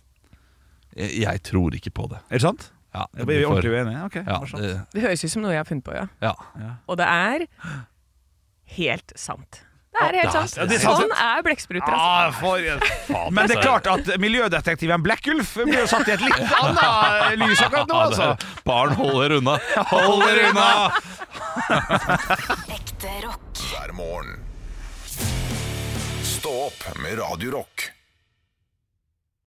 Speaker 3: jeg, jeg tror ikke på det.
Speaker 2: Er det sant?
Speaker 3: Ja,
Speaker 2: Jeg
Speaker 3: vi
Speaker 2: blir
Speaker 3: får-
Speaker 2: ordentlig uenig. Ok,
Speaker 3: ja,
Speaker 2: morsomt.
Speaker 3: det,
Speaker 5: det høres ut som noe jeg har funnet på, ja.
Speaker 3: ja.
Speaker 5: Og det er helt sant. Det er helt sant.
Speaker 2: Ja, det er sant.
Speaker 5: Sånn er blekkspruter. Altså.
Speaker 2: Ah, for en faen, Men det er klart at miljødetektiven Blekkulf blir jo satt i
Speaker 3: (laughs)
Speaker 2: et litt annet lys akkurat nå,
Speaker 3: Ja, det,
Speaker 2: altså.
Speaker 3: barn, hold dere
Speaker 2: (laughs)
Speaker 3: unna! Hold dere unna! (laughs)
Speaker 8: Ekte rock.
Speaker 1: hver morgen. Stå opp med Radio Rock.